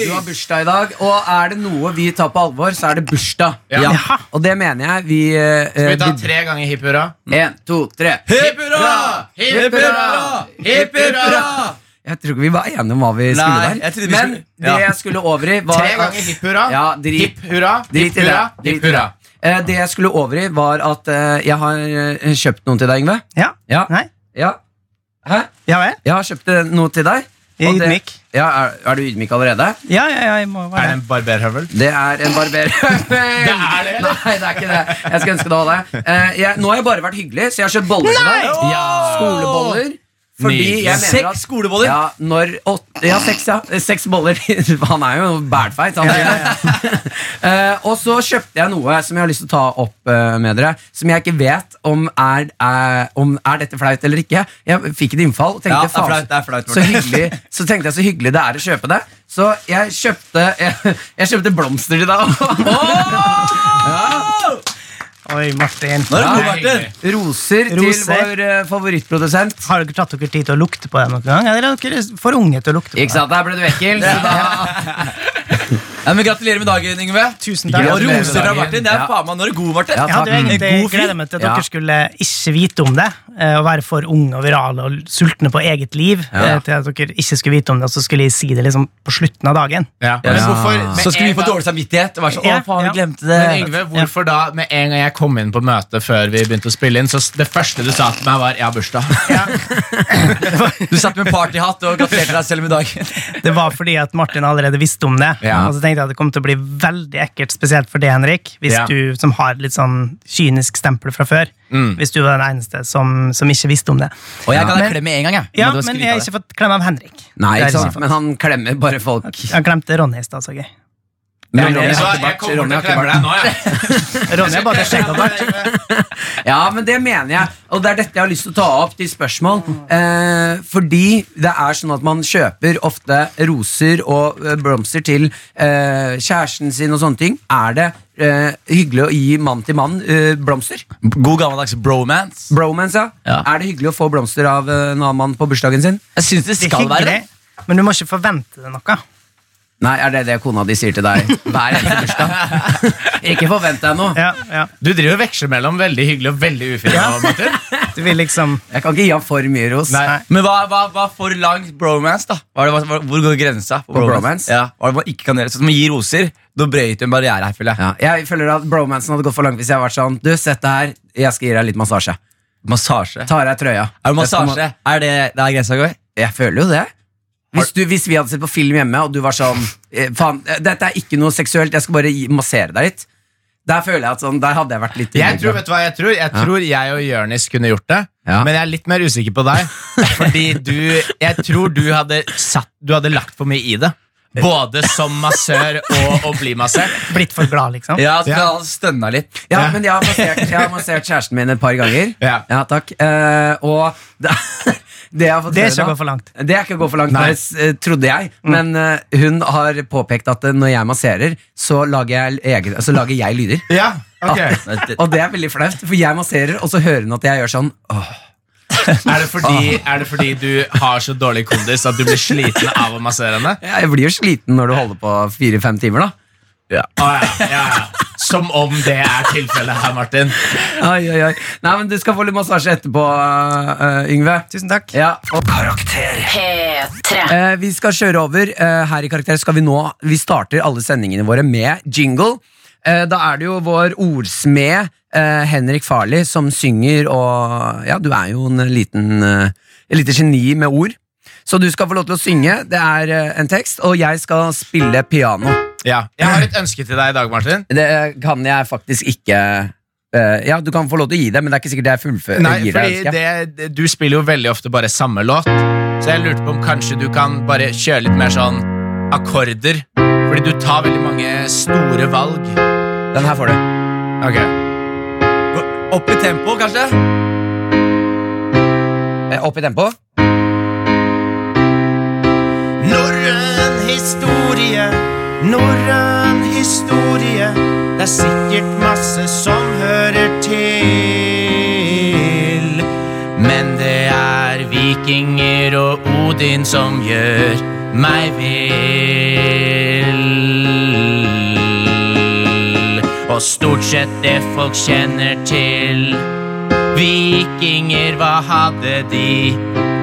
C: du har bursdag i dag, og er det noe vi tar på alvor, så er det bursdag.
B: Ja.
G: Ja.
C: Og det mener jeg vi eh,
B: Skal vi ta
C: eh, vi-
B: tre ganger hipp hurra?
C: En, to, tre.
D: Hipp hurra!
B: Hipp hurra! Hipp hurra!
C: Jeg tror ikke vi var enige om hva vi skulle
D: Nei,
C: der.
D: jeg trodde vi
C: Men
D: skulle-
C: det
D: Ja.
C: jeg skulle over i, var
B: Tre ganger hipp hurra.
C: Ja, drit-
B: Hipp hurra.
C: Drit i
B: hipp
C: det.
B: hurra,
C: Drit
B: Hipp
C: i det.
B: hurra.
C: Eh, det jeg skulle over i, var at eh, jeg har eh, kjøpt noen til deg, Yngve.
B: Eh.
G: Ja?
C: Ja.
G: Nei?
C: Ja. Hæ?
G: Ja vel?
C: Jeg har kjøpt eh, noe til deg.
G: Jeg
C: og
G: er
C: det-
G: ydmyk.
C: Ja, er, er du ydmyk allerede?
G: Ja, ja, ja, jeg må
B: Er det
G: være
B: en barberhøvel?
C: Det er en barberhøvel. Det er det, Nei, det er ikke det. Jeg skal ønske det var det. Eh, jeg, nå har jeg bare vært hyggelig, så jeg har kjøpt boller til deg. Ja. Skoleboller. Fordi
E: Nydelig.
C: jeg mener at-
D: Seks skoleboller!
C: Ja, når åtte, ja, seks, ja. Seks boller. Han er jo bælfeit. han Eh, og så kjøpte jeg noe som jeg har lyst til å ta opp eh, med dere. Som jeg ikke vet om er, er, om er dette flaut eller ikke. Jeg fikk et innfall. og Tenkte,
D: Ja, det er
C: faen,
D: flaut, det er flaut,
C: så,
D: Morten.
C: hyggelig, så tenkte jeg så hyggelig det er å kjøpe det. Så jeg kjøpte, jeg, jeg kjøpte blomster til deg.
G: Oi, Martin.
D: Nå er det god,
G: Ja.
D: Martin.
C: Roser, til
G: Roser.
C: vår eh, favorittprodusent.
G: Har dere tatt dere tid til å lukte på det noen gang? Eller er dere for unge til å lukte på
C: Ikke
G: det?
C: sant, Der ble du ekkel. Så da,
D: Ja, men Gratulerer med dagen, Yngve.
G: Tusen takk.
D: Og
C: Gratulerer med
D: roser fra
C: dagen.
D: Martin. Det er
C: Ja.
D: faen meg, Nå er du god, Martin.
C: Ja,
G: Jeg hadde jo
C: takk.
G: egentlig
D: God fyr.
G: gledet meg til at
C: Mm. Ja.
G: dere skulle ikke vite om det. eh, Og være for unge og virale og sultne på eget liv.
C: Ja.
G: eh, Til at dere ikke skulle vite om det, og så skulle jeg si det liksom på slutten av dagen.
E: Ja.
D: Ja.
E: Men hvorfor, med
D: Så skulle
E: en
D: vi få
E: gang-
D: dårlig samvittighet. Og være sånn,
G: Ja,
D: å faen,
G: ja.
D: vi glemte det
E: Men Yngve, hvorfor da, med en gang jeg kom inn på møtet før vi begynte å spille inn, så s- det første du sa til meg, var 'jeg har bursdag'.
D: Du satt med partyhatt og gratulerte deg selv med dagen.
G: Det var fordi at Martin allerede visste om det.
E: Ja.
G: Og så tenkte jeg at det kom til å bli veldig ekkelt, spesielt for deg, Henrik, hvis
E: Ja.
G: du som har litt sånn kynisk stempel fra før. Hvis du var den eneste som, som ikke visste om det.
D: Og jeg ga
G: Men-
D: deg klem med en gang. jeg
G: Ja,
D: du
G: men, jeg har
D: har skrytt av det.
G: ikke fått klem av Henrik.
C: nei,
G: Det er
C: ikke
G: ikke
C: sant, men han klemmer bare folk.
G: Jeg glemte Ronny i stad, så jeg.
C: Men Ronny
E: Så
C: har
E: jeg
C: ikke bart.
E: kommer
C: Ronny
E: til å
C: har ikke
E: klemme
C: bart.
E: deg nå, jeg.
G: Ronny er bare skjegg og bart.
C: Ja, men det mener jeg. Og det er dette jeg har lyst til å ta opp til spørsmål.
G: Mm.
C: Eh, fordi det er sånn at man kjøper ofte roser og eh, blomster til eh, kjæresten sin og sånne ting. Er det eh, hyggelig å gi mann til mann eh, blomster?
D: God gammeldags bromance.
C: Bromance, ja.
D: Ja.
C: Er det hyggelig å få blomster av eh, en annen mann på bursdagen sin?
D: Jeg syns det
G: Det er
D: skal være det.
G: hyggelig, men du må ikke forvente det noe.
C: Nei, er det det kona di sier til deg hver eneste bursdag? Ikke forvent deg noe.
G: Ja, ja.
E: Du driver og veksler mellom veldig hyggelig og veldig ufin. nå, Martin.
G: Du vil liksom
C: Jeg kan ikke gi ham for mye ros.
G: Nei.
D: Men hva, hva, hva er for lang bromance, da? Hva er det, hva, hvor går grensa?
C: På bromance?
D: Ja, hva er det man ikke kan gjøre? Sånn som å gi roser, da brøyt du en barriere her, føler jeg.
C: Ja, jeg føler at bromansen hadde gått for langt hvis jeg hadde vært sånn Du, sett det her, jeg skal gi deg litt massasje.
D: Massasje.
C: Tar av deg trøya.
D: Er det massasje? Er det der grensa går?
C: Jeg føler jo det. Hvis, du, hvis vi hadde sett på film hjemme, og du var sånn eh, Faen, eh, dette er ikke noe seksuelt, jeg skal bare gi- massere deg litt. Der føler jeg at sånn, der hadde jeg vært litt
E: Jeg tror, vet du hva jeg tror? Jeg tror jeg og Jørnis kunne gjort det,
C: Ja.
E: men jeg er litt mer usikker på deg. Fordi du Jeg tror du hadde, satt, du hadde lagt for mye i det. Både som massør og å bli massert.
G: blitt for glad, liksom.
D: Ja, så han stønna litt.
C: Ja, men jeg har, massert, jeg har massert kjæresten min et par ganger.
E: Ja.
C: takk. Eh, og det, det jeg har fått
G: Det er
C: høre
G: ikke å
C: da-
G: gå for langt. Mm.
C: Det er ikke å gå for langt, bare, s- eh, trodde jeg. Men eh, hun har påpekt at eh, når jeg masserer, så lager jeg, egen, så lager jeg lyder.
E: Ja, ok
C: Og det er veldig flaut, for jeg masserer, og så hører hun at jeg gjør sånn. Åh.
E: Er det, fordi, er det fordi du har så dårlig kondis at du blir sliten av å massere henne?
C: Ja, Jeg blir jo sliten når du holder på fire-fem timer, da.
E: Å, ja, ja, ja. Som om det er tilfellet her, Martin.
C: Oi, oi, oi. Nei, men du skal få litt massasje etterpå, eh, Yngve.
G: Tusen takk.
C: Ja, og,
H: P3.
C: eh, vi skal kjøre over. eh, her i Karakter skal vi nå Vi starter alle sendingene våre med jingle. Eh, da er det jo vår ordsmed eh, Henrik Farli som synger, og ja, du er jo en liten eh, et lite geni med ord. Så du skal få lov til å synge. Det er eh, en tekst, og jeg skal spille piano.
E: Ja. Jeg har et ønske til deg i dag, Martin.
C: Det eh, kan jeg faktisk ikke eh, Ja, du kan få lov til å gi det, men det er ikke sikkert jeg fullfører.
E: Nei,
C: eh, gir deg
E: fordi
C: ønsket.
E: det, det- Du spiller jo veldig ofte bare samme låt, så jeg lurte på om kanskje du kan bare kjøre litt mer sånn akkorder. Fordi du tar veldig mange store valg.
C: Den her får du.
E: Ok
D: Opp i tempo, kanskje?
C: Eh, Opp i tempo.
I: Norrøn historie, norrøn historie. Det er sikkert masse som hører til.
E: Men det er vikinger og Odin som gjør meg vill. Og stort sett det folk kjenner til. Vikinger, hva hadde de?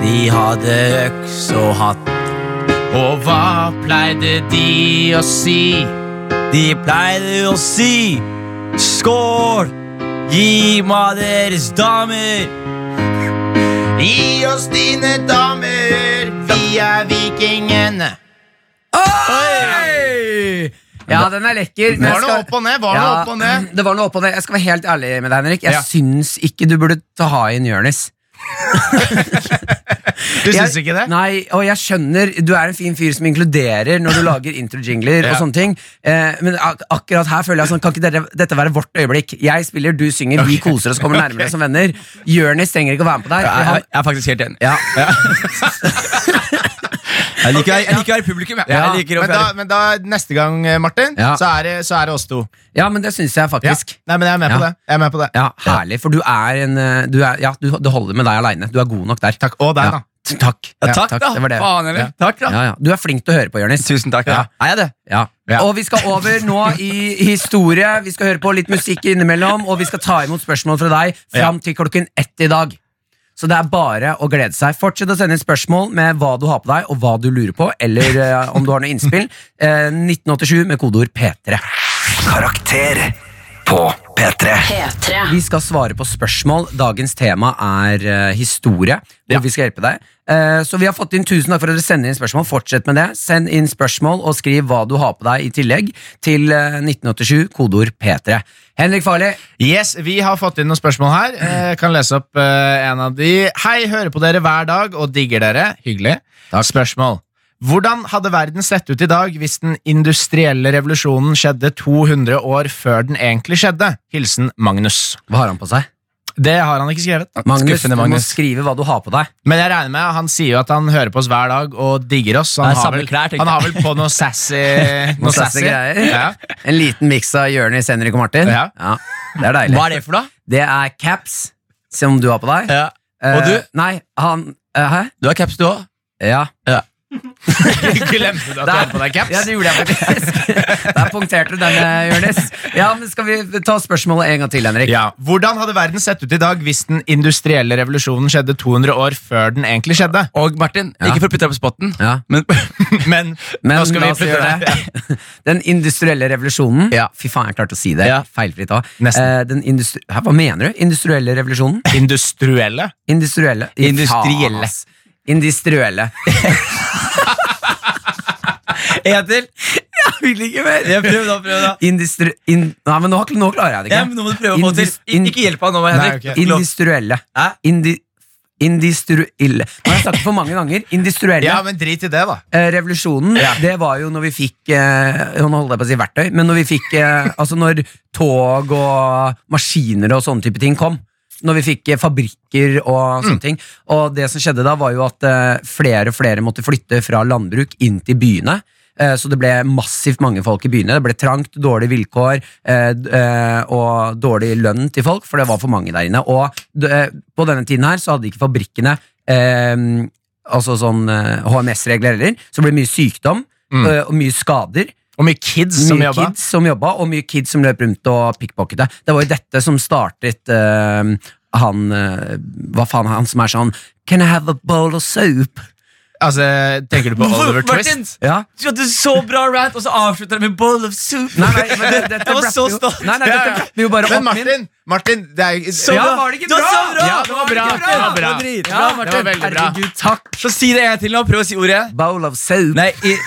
D: De hadde øks og hatt.
E: Og hva pleide de å si?
D: De pleide å si skål! Gi meg deres damer!
I: Gi oss dine damer, vi er vikingene.
C: Ja, den er lekker. men jeg
E: Var det
C: skal-
E: opp og ned? Var det
C: Ja,
E: opp og ned?
C: Det var noe opp og ned. Jeg skal være helt ærlig med deg, Henrik. Jeg
E: Ja.
C: syns ikke du burde ta inn Jonis.
E: Du syns ikke det?
C: Nei, og jeg skjønner Du er en fin fyr som inkluderer når du lager introjingler og sånne ting. Eh, men ak akkurat her føler jeg sånn Kan ikke dere, dette være vårt øyeblikk? Jeg spiller, du synger, vi koser oss, kommer nærmere som venner. Jonis trenger ikke å være med på der.
D: Jeg, jeg,
C: Han,
D: jeg er faktisk helt enig. Jeg liker, jeg, liker å være publikum. Jeg, jeg liker å
E: Men da,
D: være
E: men da neste gang, eh, Martin,
C: Ja.
E: så, er det, så er det oss to.
C: ja, men det syns jeg
E: Ja.
C: faktisk.
E: Nei, men jeg er med på
C: Ja.
E: det. Jeg er med på det.
C: Ja, Herlig, for du er en eh, du er, Ja, du, det holder med deg aleine. Du er god nok der.
E: Takk. Og deg,
C: Ja.
E: da.
C: T- Takk.
D: ja, takk, da!
C: Det var det.
D: Faen, eller? Takk, da.
C: Ja, ja. Du er flink til å høre på, Jonis.
D: Tusen takk.
C: Ja.
D: da. Er jeg det?
C: Ja.
E: Ja.
C: Og vi skal over nå i historie. Vi skal høre på litt musikk innimellom, og vi skal ta imot spørsmål fra deg fram til klokken ett i dag. Så det er bare å glede seg. Fortsett å sende inn spørsmål med hva du har på deg, og hva du lurer på, eller eh, om du har noe innspill. Eh, 1987 med kodeord P3.
A: Karakter på P3.
F: P3.
C: Vi skal svare på spørsmål. Dagens tema er eh, historie. Hvor vi skal hjelpe deg. Eh, så vi har fått inn tusen takk for at dere sender inn spørsmål. Fortsett med det. Send inn spørsmål og skriv hva du har på deg i tillegg til eh, 1987, kodeord P3. Henrik Farli,
E: Yes, Vi har fått inn noen spørsmål her. Eh, Jeg kan lese opp eh, en av de. Hei, hører på dere hver dag og digger dere. Hyggelig. Spørsmål. Hvordan hadde verden sett ut i dag hvis den industrielle revolusjonen skjedde 200 år før den egentlig skjedde? Hilsen Magnus.
C: hva har han på seg?
E: Det har han ikke skrevet.
C: Magnus,
D: Skuffende,
C: du må
D: Magnus.
C: skrive hva du har på deg.
E: Men jeg regner med, han sier jo at han hører på oss hver dag og digger oss. så Han,
D: Det er
E: har
D: samme
E: vel,
D: klær, tenker
E: han
D: jeg.
E: har vel på noe sassy,
C: Noe sassy greier.
E: Ja.
C: En liten miks av Jonis, Henrik og Martin.
E: Ja.
C: Det er deilig.
D: Hva er det for noe?
C: Det er caps som du har på deg.
D: Ja. Og
C: Eh,
D: du?
C: Nei, han eh, Hæ?
D: Du har caps, du òg.
C: Ja.
E: Glemte du at du
C: Der.
E: hadde på deg caps?
C: Ja, det gjorde jeg faktisk. Der punkterte du den, eh, Jonis. Ja, men skal vi ta spørsmålet en gang til, Henrik?
E: Ja. Hvordan hadde verden sett ut i dag hvis den industrielle revolusjonen skjedde 200 år før den egentlig skjedde?
D: Og Martin,
C: Ja.
D: ikke for å putte deg på spotten,
C: Ja.
D: men
E: Men,
C: Men
E: nå skal vi
C: la oss
E: putte
C: gjøre
E: det.
C: det. Den industrielle revolusjonen.
D: Ja.
C: Fy faen, jeg klarte å si det
D: Ja.
C: feilfritt Eh, òg.
E: Nesten.
C: Hva mener du? Industrielle revolusjonen?
E: Industrielle?
C: Industrielle. Ja,
D: Industrielle.
C: faen, ass. Industrielle.
D: En til.
C: Jeg vil ikke mer!
D: Ja, prøv, da. prøv da
C: Industri... In, nei, men nå, nå klarer jeg det
D: ja,
C: ikke.
D: men Nå må du prøve å få det
C: Indus-
D: til.
C: in-
D: Ikke hjelp meg nå, Henrik.
E: Nei, ok.
D: Lov.
C: Industrielle.
D: Hæ?
C: Indi, industrielle. Nå har jeg sagt det for mange ganger. Industrielle.
E: Ja, men drit i det, da.
C: Eh, revolusjonen, det var jo når vi fikk eh, Nå holdt jeg på å si verktøy, men når vi fikk eh, Altså når tog og maskiner og sånne type ting kom. Når vi fikk eh, fabrikker og sånne ting. Og det som skjedde da, var jo at eh, flere og flere måtte flytte fra landbruk inn til byene. Eh, Så det ble massivt mange folk i byene. Det ble trangt, dårlige vilkår eh, d- eh, og dårlig lønn til folk, for det var for mange der inne. Og d- eh, på denne tiden her så hadde ikke fabrikkene eh, altså sånn eh, HMS-regler heller, så det ble mye sykdom
E: Mm.
C: eh, og mye skader.
E: Og mye kids som
C: Mye
E: jobba.
C: kids som jobba, og mye kids som løp rundt og pickpocketa. Det var jo dette som startet eh, han eh, Hva faen, han som er sånn Can I have a bowl of soup?
E: Altså, tenker du på
D: Hvorfor,
E: Oliver
D: Martin?
E: Twist?
C: Ja.
D: Du hadde så bra rant, og så avslutter du med bowl of soup.
C: Nei, nei, men det, dette
D: Jeg var
C: rapper
D: så
C: jo-
D: stolt.
C: Nei, nei, dette rapper jo bare
E: Men
C: opp min.
E: Martin, Martin det er,
D: Så
E: ja.
D: bra.
C: var det ikke
D: Du var
C: bra?
D: så bra.
E: Ja, det var bra.
D: ikke
E: Det var bra.
D: dritbra,
C: Ja,
D: Martin.
E: det var veldig bra.
C: Herregud, takk.
D: Så si det en gang til nå. Prøv å si ordet.
C: Bowl of soup.
D: Nei, i,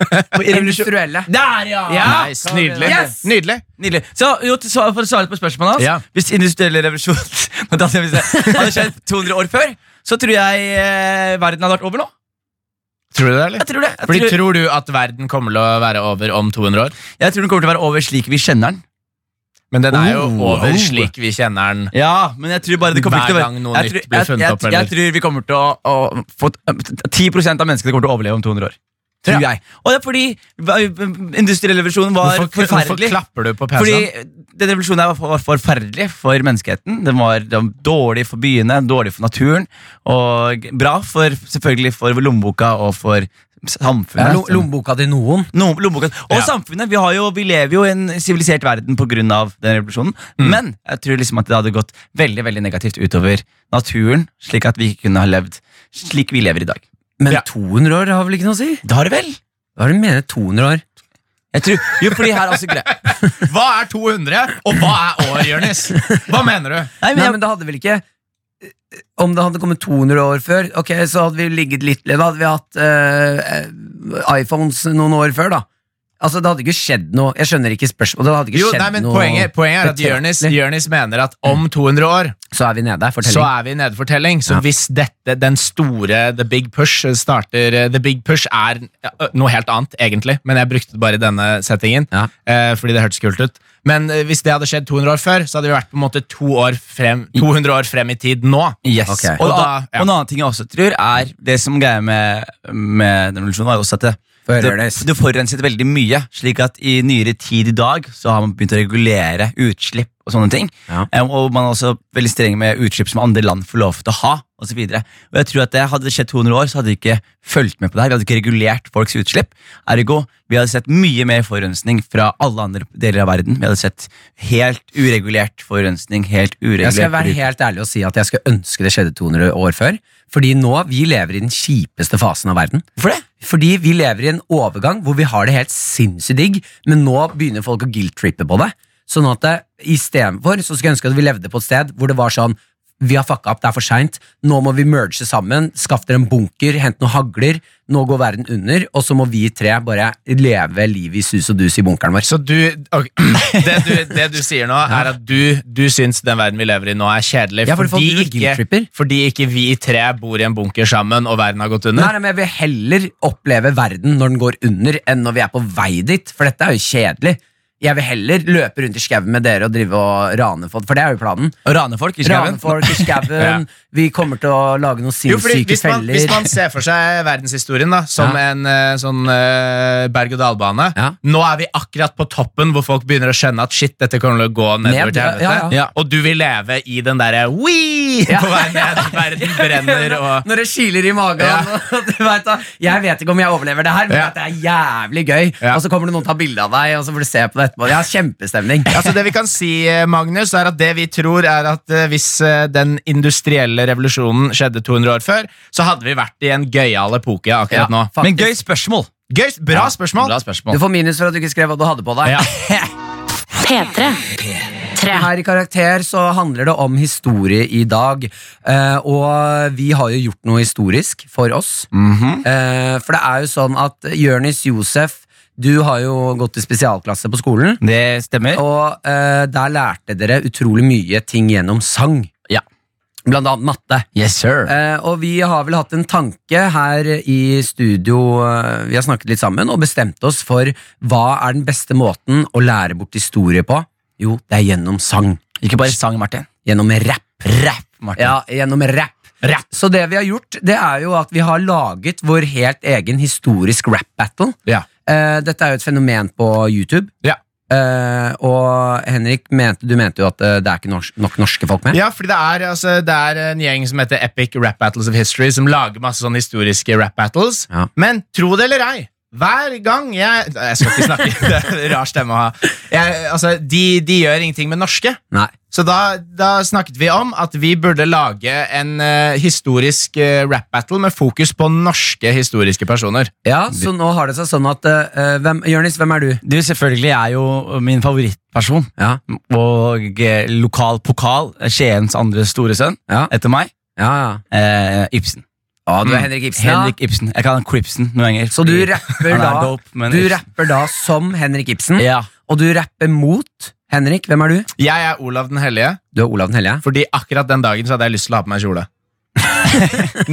D: på revolusjon.
C: Industrielle.
D: Der, ja!
E: Nice, nydelig.
D: Yes!
E: nydelig.
D: Nydelig. Så, jo, til svar- for å svare på spørsmålet hans
E: Ja.
D: Hvis industrielle revolusjon Nå datt jeg hvis det hadde skjedd 200 år før, så tror jeg eh, verden hadde vært over nå.
E: Tror du det, eller?
D: Jeg tror det. Jeg
E: Fordi
D: tror,
E: Tror du at verden kommer til å være over om 200 år?
D: jeg tror den kommer til å være over slik vi kjenner den.
E: Men den er jo
D: Oh,
E: over
D: oh.
E: slik vi kjenner den.
D: Ja, men jeg tror bare det kommer
E: Hver
D: ikke til å være
E: gang noe
D: jeg
E: nytt
D: tror-
E: blir
D: jeg-
E: funnet
D: jeg,
E: opp,
D: Jeg,
E: eller?
D: tror vi kommer til å, å få, eh, 10 av menneskene kommer til å overleve om 200 år. Tror jeg. Og det er fordi eh, industriell revolusjon var
E: Hvorfor, hvorfor sånn?
D: forferdelig.
E: klapper du på
D: Fordi
E: PC-en?
D: den revolusjonen her var for- var forferdelig for menneskeheten. Den var, den var dårlig for byene, dårlig for naturen, og bra for, selvfølgelig for lommeboka og for
C: Ja,
D: samfunnet.
C: lo- Lommeboka til noen.
D: No, lommeboka. Og
E: Ja.
D: samfunnet. Vi, har jo, vi lever jo i en sivilisert verden pga. den revolusjonen. Men jeg tror liksom at det hadde gått veldig veldig negativt utover naturen, slik at vi ikke kunne ha levd slik vi lever i dag.
C: Men
E: Ja.
C: 200 år har vel ikke noe å si?
D: Det har det vel?
C: Hva er det du mener? 200 år?
D: Jeg tror, jo, fordi her er også greia.
E: Hva er 200, og hva er år, Jonis? Hva mener du?
D: Nei, men
C: Nei,
D: jeg-
C: men det hadde vel ikke eh, Om det hadde kommet 200 år før, Ok, så hadde vi ligget litt Da hadde vi hatt eh, eh, iPhones noen år før, da. Altså, det hadde ikke skjedd noe Jeg skjønner ikke spørsmålet. Det hadde ikke
E: Jo,
C: skjedd
E: nei, men
C: noe
E: poenget, poenget er at Jørnis,
C: betraktelig.
E: Jørnis mener at om 200 år
C: Så er vi nede. Fortelling.
E: så er vi i nedfortelling. Så
C: Ja.
E: hvis dette, den store The Big Push starter eh, The Big Push er ja, noe helt annet, egentlig, men jeg brukte det bare i denne settingen.
C: Ja.
E: eh, Fordi det hørtes kult ut. Men eh, hvis det hadde skjedd 200 år før, så hadde vi vært på en måte to år frem, 200 år frem i tid nå.
D: Yes.
C: Ok.
D: Og,
E: Og
D: da,
E: da- ja.
D: og en annen ting jeg også tror, er det som greia med, med den revolusjonen, var jo også at det,
C: Få høre,
D: det,
C: Ernest.
D: det forurenset veldig mye. Slik at i nyere tid i dag så har man begynt å regulere utslipp og sånne ting.
C: Ja.
D: Eh, Og man er også veldig streng med utslipp som andre land får lov til å ha. Og, så videre. og jeg tror at det Hadde det skjedd 200 år, så hadde vi ikke fulgt med på det her. Vi hadde ikke regulert folks utslipp. Ergo, vi hadde sett mye mer forurensning fra alle andre deler av verden. Vi hadde sett helt uregulert forurensning. helt uregulert
C: Jeg skal være
D: forbruk.
C: helt ærlig og si at jeg skulle ønske det skjedde 200 år før. Fordi nå, vi lever i den kjipeste fasen av verden.
D: Hvorfor det?
C: Fordi vi lever i en overgang hvor vi har det helt sinnssykt digg, men nå begynner folk å guilt-trippe på det. Sånn at det, istedenfor så skulle jeg ønske at vi levde på et sted hvor det var sånn vi har fucka opp, det er for seint. Nå må vi merge sammen. Skaff dere en bunker, hent noen hagler. Nå går verden under, og så må vi tre bare leve livet i sus og dus i bunkeren vår.
E: Så du, ok, det, du, det du sier nå, er at du, du syns den verden vi lever i nå, er kjedelig
C: Ja, for folk driver og
E: ikke,
C: guilt-tripper.
E: fordi ikke vi tre bor i en bunker sammen, og verden har gått
C: Nei,
E: under?
C: nei, men Jeg vil heller oppleve verden når den går under, enn når vi er på vei dit. For dette er jo kjedelig. Jeg vil heller løpe rundt i skauen med dere og drive og rane folk, for det er jo planen.
D: Å rane folk i skauen?
C: Rane folk i skauen.
E: Ja.
C: Vi kommer til å lage noen
E: Jo, fordi
C: sinnssyke
E: hvis man, hvis
C: feller.
E: man ser for seg verdenshistorien da som
C: Ja.
E: en eh, sånn eh, berg-og-dal-bane
C: Ja.
E: Nå er vi akkurat på toppen hvor folk begynner å skjønne at shit, dette kommer til å gå nedover
C: Ned,
E: til
C: ja,
E: helvete.
C: ja, ja.
D: Ja.
E: Og du vil leve i den derre «Wii» på vei ned, verden brenner og
C: Når det kiler i magen.
E: Ja.
C: og Du vet, da, jeg vet ikke om jeg overlever det her, men
E: Ja.
C: at det er jævlig gøy.
E: Ja.
C: Og så kommer det noen og tar bilde av deg, og så får du se på det etterpå. Jeg har kjempestemning.
E: Altså Det vi kan si, eh, Magnus, er at det vi tror er at eh, hvis eh, den industrielle revolusjonen skjedde 200 år før, så hadde vi vært i en gøyal epoke akkurat
C: Ja,
E: nå.
C: faktisk.
D: Men gøy spørsmål.
E: Gøy, bra spørsmål!
D: Bra
C: Du
D: spørsmål.
C: får minus for at du ikke skrev hva du hadde på deg.
E: Ja.
F: P3. P3.
C: Her i Karakter så handler det om historie i dag. Eh, og vi har jo gjort noe historisk for oss.
D: Mhm.
C: eh, for det er jo sånn at Jørnis Josef, du har jo gått i spesialklasse på skolen.
D: Det stemmer.
C: Og eh, der lærte dere utrolig mye ting gjennom sang.
D: Ja.
C: Blant annet matte.
D: Yes, sir.
C: Eh, og vi har vel hatt en tanke her i studio, eh, vi har snakket litt sammen, og bestemt oss for hva er den beste måten å lære bort historie på? Jo, det er gjennom sang.
D: Ikke bare sang, Martin.
C: Gjennom rap.
D: Rapp, Martin.
C: Ja, gjennom rap. Så det vi har gjort, det er jo at vi har laget vår helt egen historisk rap battle.
E: Ja.
C: Eh, dette er jo et fenomen på YouTube.
E: Ja.
C: Eh, og Henrik, mente, du mente jo at eh, det er ikke norsk, nok norske folk med.
E: Ja, fordi det er, altså, det er en gjeng som heter Epic Rap Battles of History, som lager masse sånne historiske rap battles.
C: Ja.
E: Men tro det eller ei, hver gang jeg Nei, Jeg skal ikke snakke, det er en rar stemme å ha. Jeg, altså, de, de gjør ingenting med norske.
C: Nei.
E: Så da, da snakket vi om at vi burde lage en eh, historisk eh, rap battle med fokus på norske historiske personer.
C: Ja, Så nå har det seg sånn at eh, hvem, Jørnis, hvem er du?
D: Du selvfølgelig er jo min favorittperson.
C: Ja,
D: Og eh, lokal pokal, eh, Skiens andre store sønn,
C: Ja.
D: etter meg.
C: ja, ja.
D: Eh, Ibsen.
C: Ja, du
D: Mm.
C: er Henrik Ibsen,
D: Henrik Ibsen. Jeg kaller han Cripsen noen ganger.
C: ja. Så du
D: fordi
C: rapper,
D: han er
C: da,
D: dope, men
C: du
D: Ibsen-
C: rapper da som Henrik Ibsen,
D: Ja.
C: og du rapper mot Henrik. Hvem er du?
E: Jeg er Olav den hellige,
C: Du er Olav den hellige.
E: fordi akkurat den dagen så hadde jeg lyst til å ha på meg kjole.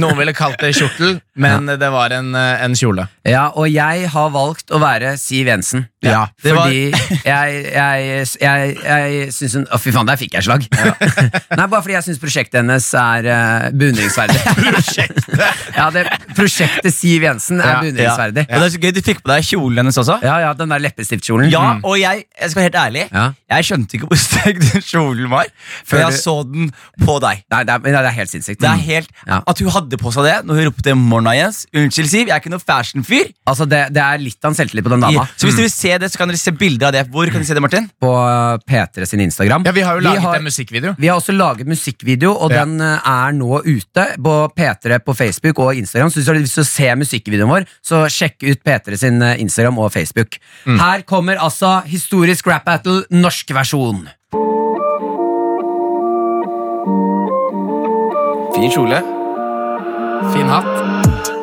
E: Noen ville kalt det kjortel, men det var en, eh, en kjole.
C: Ja, og jeg har valgt å være Siv Jensen.
D: Ja, det var-
C: fordi jeg, jeg, jeg, jeg syns hun Å, fy faen, der fikk jeg slag! Nei, bare fordi jeg syns prosjektet hennes er uh, beundringsverdig. prosjektet Ja, det Prosjektet Siv Jensen er
E: Ja,
C: beundringsverdig.
D: Ja. Og det er så gøy, Du fikk på deg kjolen hennes også.
C: Ja, ja, den der leppestiftkjolen.
D: Ja,
C: Mm.
D: og jeg, jeg skal være helt ærlig
C: Ja.
D: Jeg skjønte ikke hvor stygg den kjolen var
C: Før
D: før jeg
C: du-
D: så den på deg.
C: Nei, det er, nei, det er helt sinnssykt.
D: Det
E: Mm.
D: er helt,
C: Ja.
D: At hun hadde på seg det når hun ropte 'morna, Jens'. Unnskyld, Siv, jeg er ikke noe fashion-fyr.
C: Altså, det, det er litt av en selvtillit på den dama.
D: Så hvis dere vil se det, så kan dere se bilder av det. Hvor kan dere se det, Martin?
C: På P3 sin Instagram.
E: Ja, Vi har jo
C: Vi
E: laget
C: har-
E: en musikkvideo.
C: Vi har også laget musikkvideo, og
E: Ja.
C: den eh, er nå ute på P3 på Facebook og Instagram. Så hvis du har lyst til å se musikkvideoen vår, så sjekk ut P3 sin eh, Instagram og Facebook.
E: Mm.
C: Her kommer altså historisk rap battle, norsk versjon.
E: Fin hatt.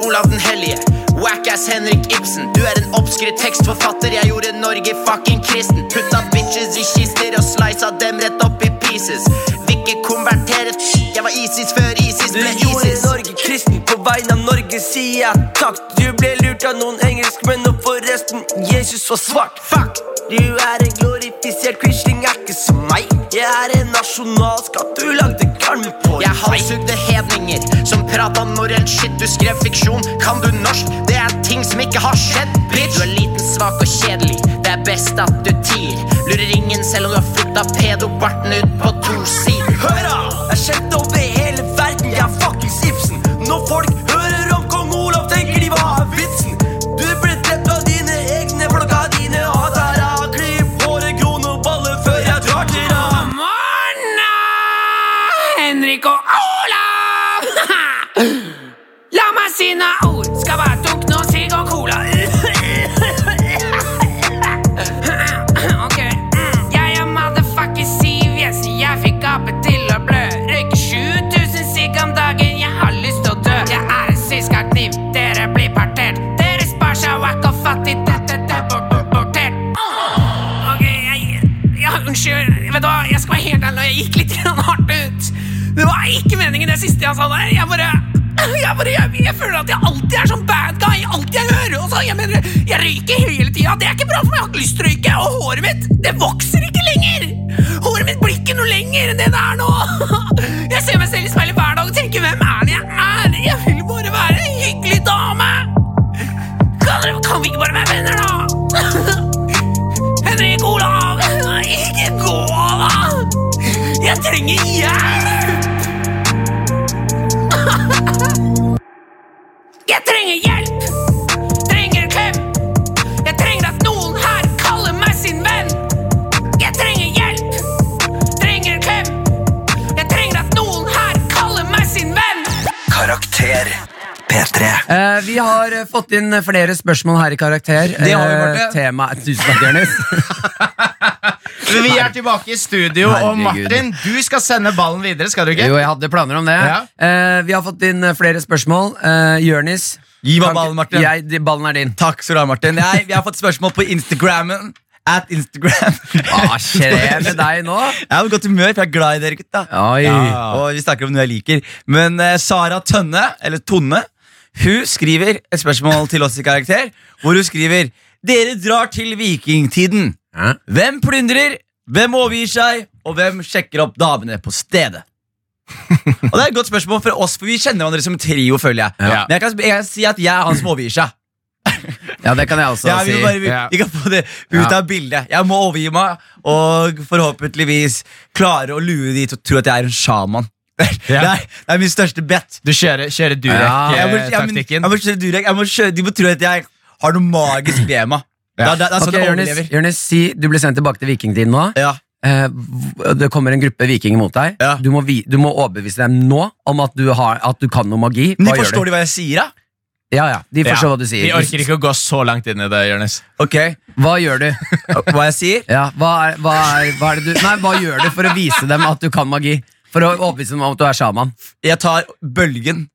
A: Olav den hellige,
J: Wackass Henrik Ibsen, du er en oppskrytt tekstforfatter. Jeg gjorde Norge fucking kristen. Putta bitches i kister og slicea dem rett opp i pieces. Vil ikke konvertere, jeg var ISIS før ISIS
I: Du
J: ble
I: gjorde
J: ISIS.
I: Norge kristen På vegne av Norge sier jeg takk Du ble lurt av noen engelskmenn Og forresten, Jesus var svart Fuck! Du er en glorifisert quisling, er ikke som meg Jeg er en nasjonalskatt Du lagde garn på
J: Jeg halshugde hedninger som prata norrønt shit. Du skrev fiksjon, kan du norsk? Det er ting som ikke har skjedd, bitch. Du er liten, svak og kjedelig. Det er best at du tier. Lurer ingen selv om du har flytta pedobarten ut på to sider.
I: Hør da! Jeg er kjent over hele verden, jeg er fuckings Ibsen. Når folk hører om kong Olav, tenker de hva er vitsen? Du ble drept av dine egne, plukka dine hatara. Klipp håret, kron og baller før jeg drar til Rama.
H: Henrik og Olav! La meg sine ord skal være dunk nå, sigg og cola. Ok, mm, Jeg er motherfucker Siv Jensen, jeg fikk ape til å blø. Røyker 7000 sigg om dagen, jeg har lyst til å dø. Jeg er en syska kniv, dere blir partert. Dere spar seg wack og fattig, dette det er bort, bort, bortert. Ok, jeg, ja, unnskyld. Vet du hva, jeg skal være helt ærlig, jeg gikk litt grann hardt ut. Det var ikke meningen det siste jeg sa der. Jeg bare jeg, bare, jeg, jeg føler at jeg alltid er sånn bad guy. Alt jeg gjør. Og så, jeg mener, jeg røyker hele tida. Det er ikke bra for meg. Jeg har ikke lyst til å røyke. Og håret mitt, det vokser ikke lenger. Håret mitt blir ikke noe lenger enn det det er nå. Jeg ser meg selv i speilet hver dag og tenker hvem er det jeg er? Jeg vil bare være en hyggelig dame. Kan, dere- kan vi ikke bare være venner, da? Henrik Olav, ikke gå, da! Jeg trenger hjelp! Jeg trenger hjelp! Trenger en klem. Jeg trenger at noen her kaller meg sin venn. Jeg trenger hjelp! Trenger en klem. Jeg trenger at noen her kaller meg sin venn.
A: Karakter P3
C: Eh, vi har eh, fått inn flere spørsmål her i Karakter.
D: Det har vi, Marte.
C: Eh, tema, tusen takk, Jonis.
E: Vi er tilbake i studio,
C: Herregud.
E: og Martin, du skal sende ballen videre, skal du ikke?
C: Jo, jeg hadde planer om det.
E: Ja.
C: Eh, vi har fått inn eh, flere spørsmål. Eh, Jonis.
D: Gi
C: kan
D: meg
C: ikke-
D: ballen, Martin.
C: Jeg, de, ballen er din.
D: Takk skal du ha, Martin. Jeg, vi har fått spørsmål på Instagrammen. At Instagram.
C: Hva Ah, skjer med deg nå?
D: Jeg har godt humør, for jeg er glad i dere, gutta.
C: Oi.
D: Ja. Og vi snakker om noe jeg liker. Men eh, Sara Tønne, eller Tonne, hun skriver et spørsmål til oss i karakter, hvor hun skriver Dere drar til vikingtiden.
C: Hæ?
D: Hvem plyndrer, hvem overgir seg, og hvem sjekker opp damene på stedet? og Det er et godt spørsmål for oss, for vi kjenner hverandre som trio, føler jeg.
C: Ja.
D: Men jeg kan, jeg kan si at jeg er han som overgir seg.
C: Ja, det kan jeg også
D: Ja, vi,
C: si.
D: må bare, vi,
E: Ja.
D: vi kan få det ut av bildet. Jeg må overgi meg og forhåpentligvis klare å lure de til å tro at jeg er en sjaman. Det,
E: Ja.
D: er, det er min største bet.
E: Du kjører, kjører eh,
C: Ja,
D: Jeg må, jeg, må, jeg
E: Durek-taktikken.
D: må kjøre Durek. Jeg må kjøre, de må tro at jeg har noe magisk ved meg. Det er- det er- det er sånn
C: Ok,
D: jeg
C: Jonis,
D: overlever.
C: Jonis, si du blir sendt tilbake til vikingtiden nå.
D: Ja.
C: Eh, v- det kommer en gruppe vikinger mot deg.
D: Ja.
C: Du, må vi, du må overbevise dem nå om at du, har, at du kan noe magi.
D: Men
C: Hva
D: de
C: gjør
D: forstår
C: du?
D: de hva jeg sier, da?
C: Ja, ja, de forstår
E: Ja,
C: hva du sier.
E: Vi orker ikke å gå så langt inn i det, Jonis.
D: Ok,
C: Hva gjør du?
D: Hva jeg sier?
C: Ja, hva, er, hva, er, hva er det du Nei, hva gjør du for å vise dem at du kan magi? For å overbevise dem om at du er sjaman?
D: Jeg tar bølgen.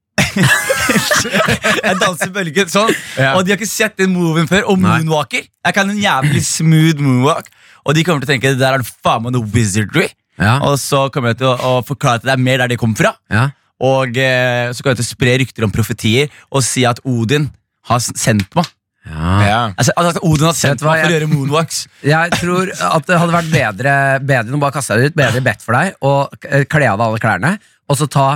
D: jeg danser bølgen sånn.
E: Ja.
D: Og de har ikke sett den moven før. Og
C: Nei.
D: moonwalker. Jeg kan en jævlig smooth moonwalk. Og de kommer til å tenke det der er faen meg noe wizardry.
C: Ja.
D: Og så kommer jeg til å, å forklare til deg mer der de kommer fra.
C: Ja.
D: Og eh, så kommer jeg til å spre rykter om profetier og si at Odin har s- sendt meg.
E: Ja.
D: Altså, altså at Odin har
C: Vet
D: sendt
C: du hva,
D: meg for å
C: jeg-
D: gjøre moonwalks.
C: Jeg tror at det hadde vært bedre Bedre enn å bare kaste deg ut. Bedre bedt for deg og eh, kle av deg alle klærne. Og så ta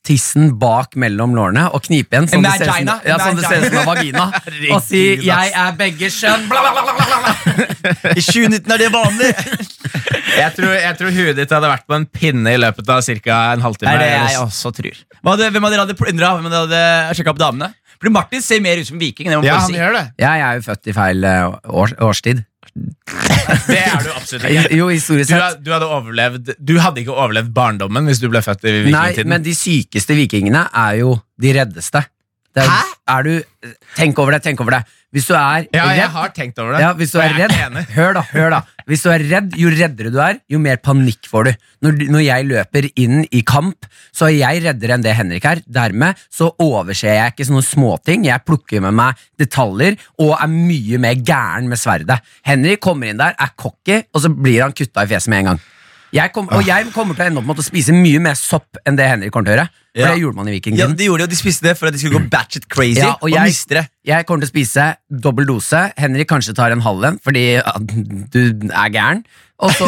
C: tissen bak mellom lårene og knipe igjen. Sånn det ser ut som
D: Vagina.
C: ja, sånn det ser ut som en vagina. Og si 'jeg er begge kjønn'. Bla, bla, bla, bla, bla.
D: I 2019 er det vanlig!
E: Jeg, tror, jeg tror huet ditt hadde vært på en pinne i løpet av ca. en halvtime.
D: Det er det jeg
E: Jonas.
D: også tror. Hva hadde, hvem av dere hadde plyndra? Hvem av dere hadde sjekka opp damene? Fordi Martin ser mer ut som viking. Det må man
E: Ja,
D: bare
E: han
D: si.
E: gjør det.
C: Jeg er jo født i feil eh, år, årstid.
E: Det er du absolutt ikke.
C: Jo, historisk
E: Du,
C: sett.
E: du hadde overlevd Du hadde ikke overlevd barndommen hvis du ble født i
C: Nei,
E: vikingtiden.
C: men de sykeste vikingene er jo de reddeste. Det er,
D: Hæ?
C: Er du, tenk over det, tenk over det. Hvis du er
E: Ja, jeg
C: redd-
E: har tenkt over det.
C: Ja, hvis du
E: og
C: er
E: jeg
C: redd,
E: ikke enig.
C: hør da, hør da. Hvis du er redd, Jo reddere du er, jo mer panikk får du. Når, du- når jeg løper inn i kamp, så er jeg reddere enn det Henrik er. Dermed så overser jeg ikke sånne småting. Jeg plukker med meg detaljer og er mye mer gæren med sverdet. Henrik kommer inn der, er cocky, og så blir han kutta i fjeset med en gang. Jeg kom, og jeg kommer til å ende opp med å spise mye mer sopp enn det Henrik kommer til å gjøre. For
D: Ja.
C: det gjorde man i
D: Ja,
C: Vikingtiden.
D: de gjorde det, og de spiste det for at de skulle gå batchet crazy.
C: Ja, og
D: og
C: jeg-
D: miste det
C: Jeg kommer til å spise dobbel dose. Henrik kanskje tar en halv en fordi ja, du er gæren. Og så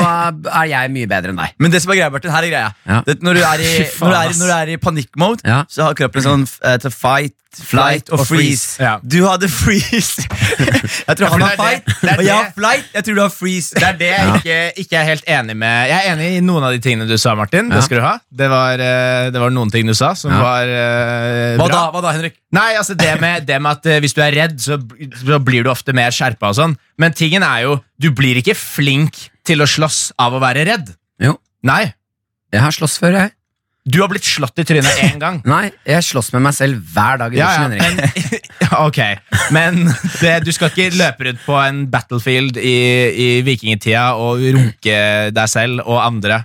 C: er jeg mye bedre enn deg.
D: Men det som er greia, Martin, her er greia.
C: Ja.
D: Det, når, du er i,
E: Fy faen,
D: når, du er, i-
E: ass.
D: når du er i panikkmode,
C: Ja.
D: så har kroppen en sånn eh, til fight, flight og freeze.
E: Ja.
D: Du hadde freeze. jeg tror
E: for
D: han
E: det
D: har
E: er det-
D: fight,
E: det er
D: og jeg har
E: det.
D: flight. Jeg tror du har freeze.
E: Det er det jeg ikke, ikke er helt enig med. Jeg er enig i noen av de tingene du sa, Martin.
C: Ja.
E: Det skal du ha. Det var, eh, det var noen ting du sa som
C: Ja.
E: var eh,
D: Hva
E: bra.
D: da, hva da, Henrik?
E: Nei, altså det med, det med at eh, hvis du er redd, så, b- så blir du ofte mer skjerpa og sånn. Men tingen er jo, du blir ikke flink til å slåss av å være redd.
C: Jo,
E: Nei.
C: jeg har slåss før, jeg.
E: Du har blitt slått i trynet én gang.
C: Nei, jeg slåss med meg selv hver dag i
E: Ja, ja,
C: dusjen. Henrik.
E: men, ok, men det, du skal ikke løpe rundt på en battlefield i, i vikingtida og runke deg selv og andre.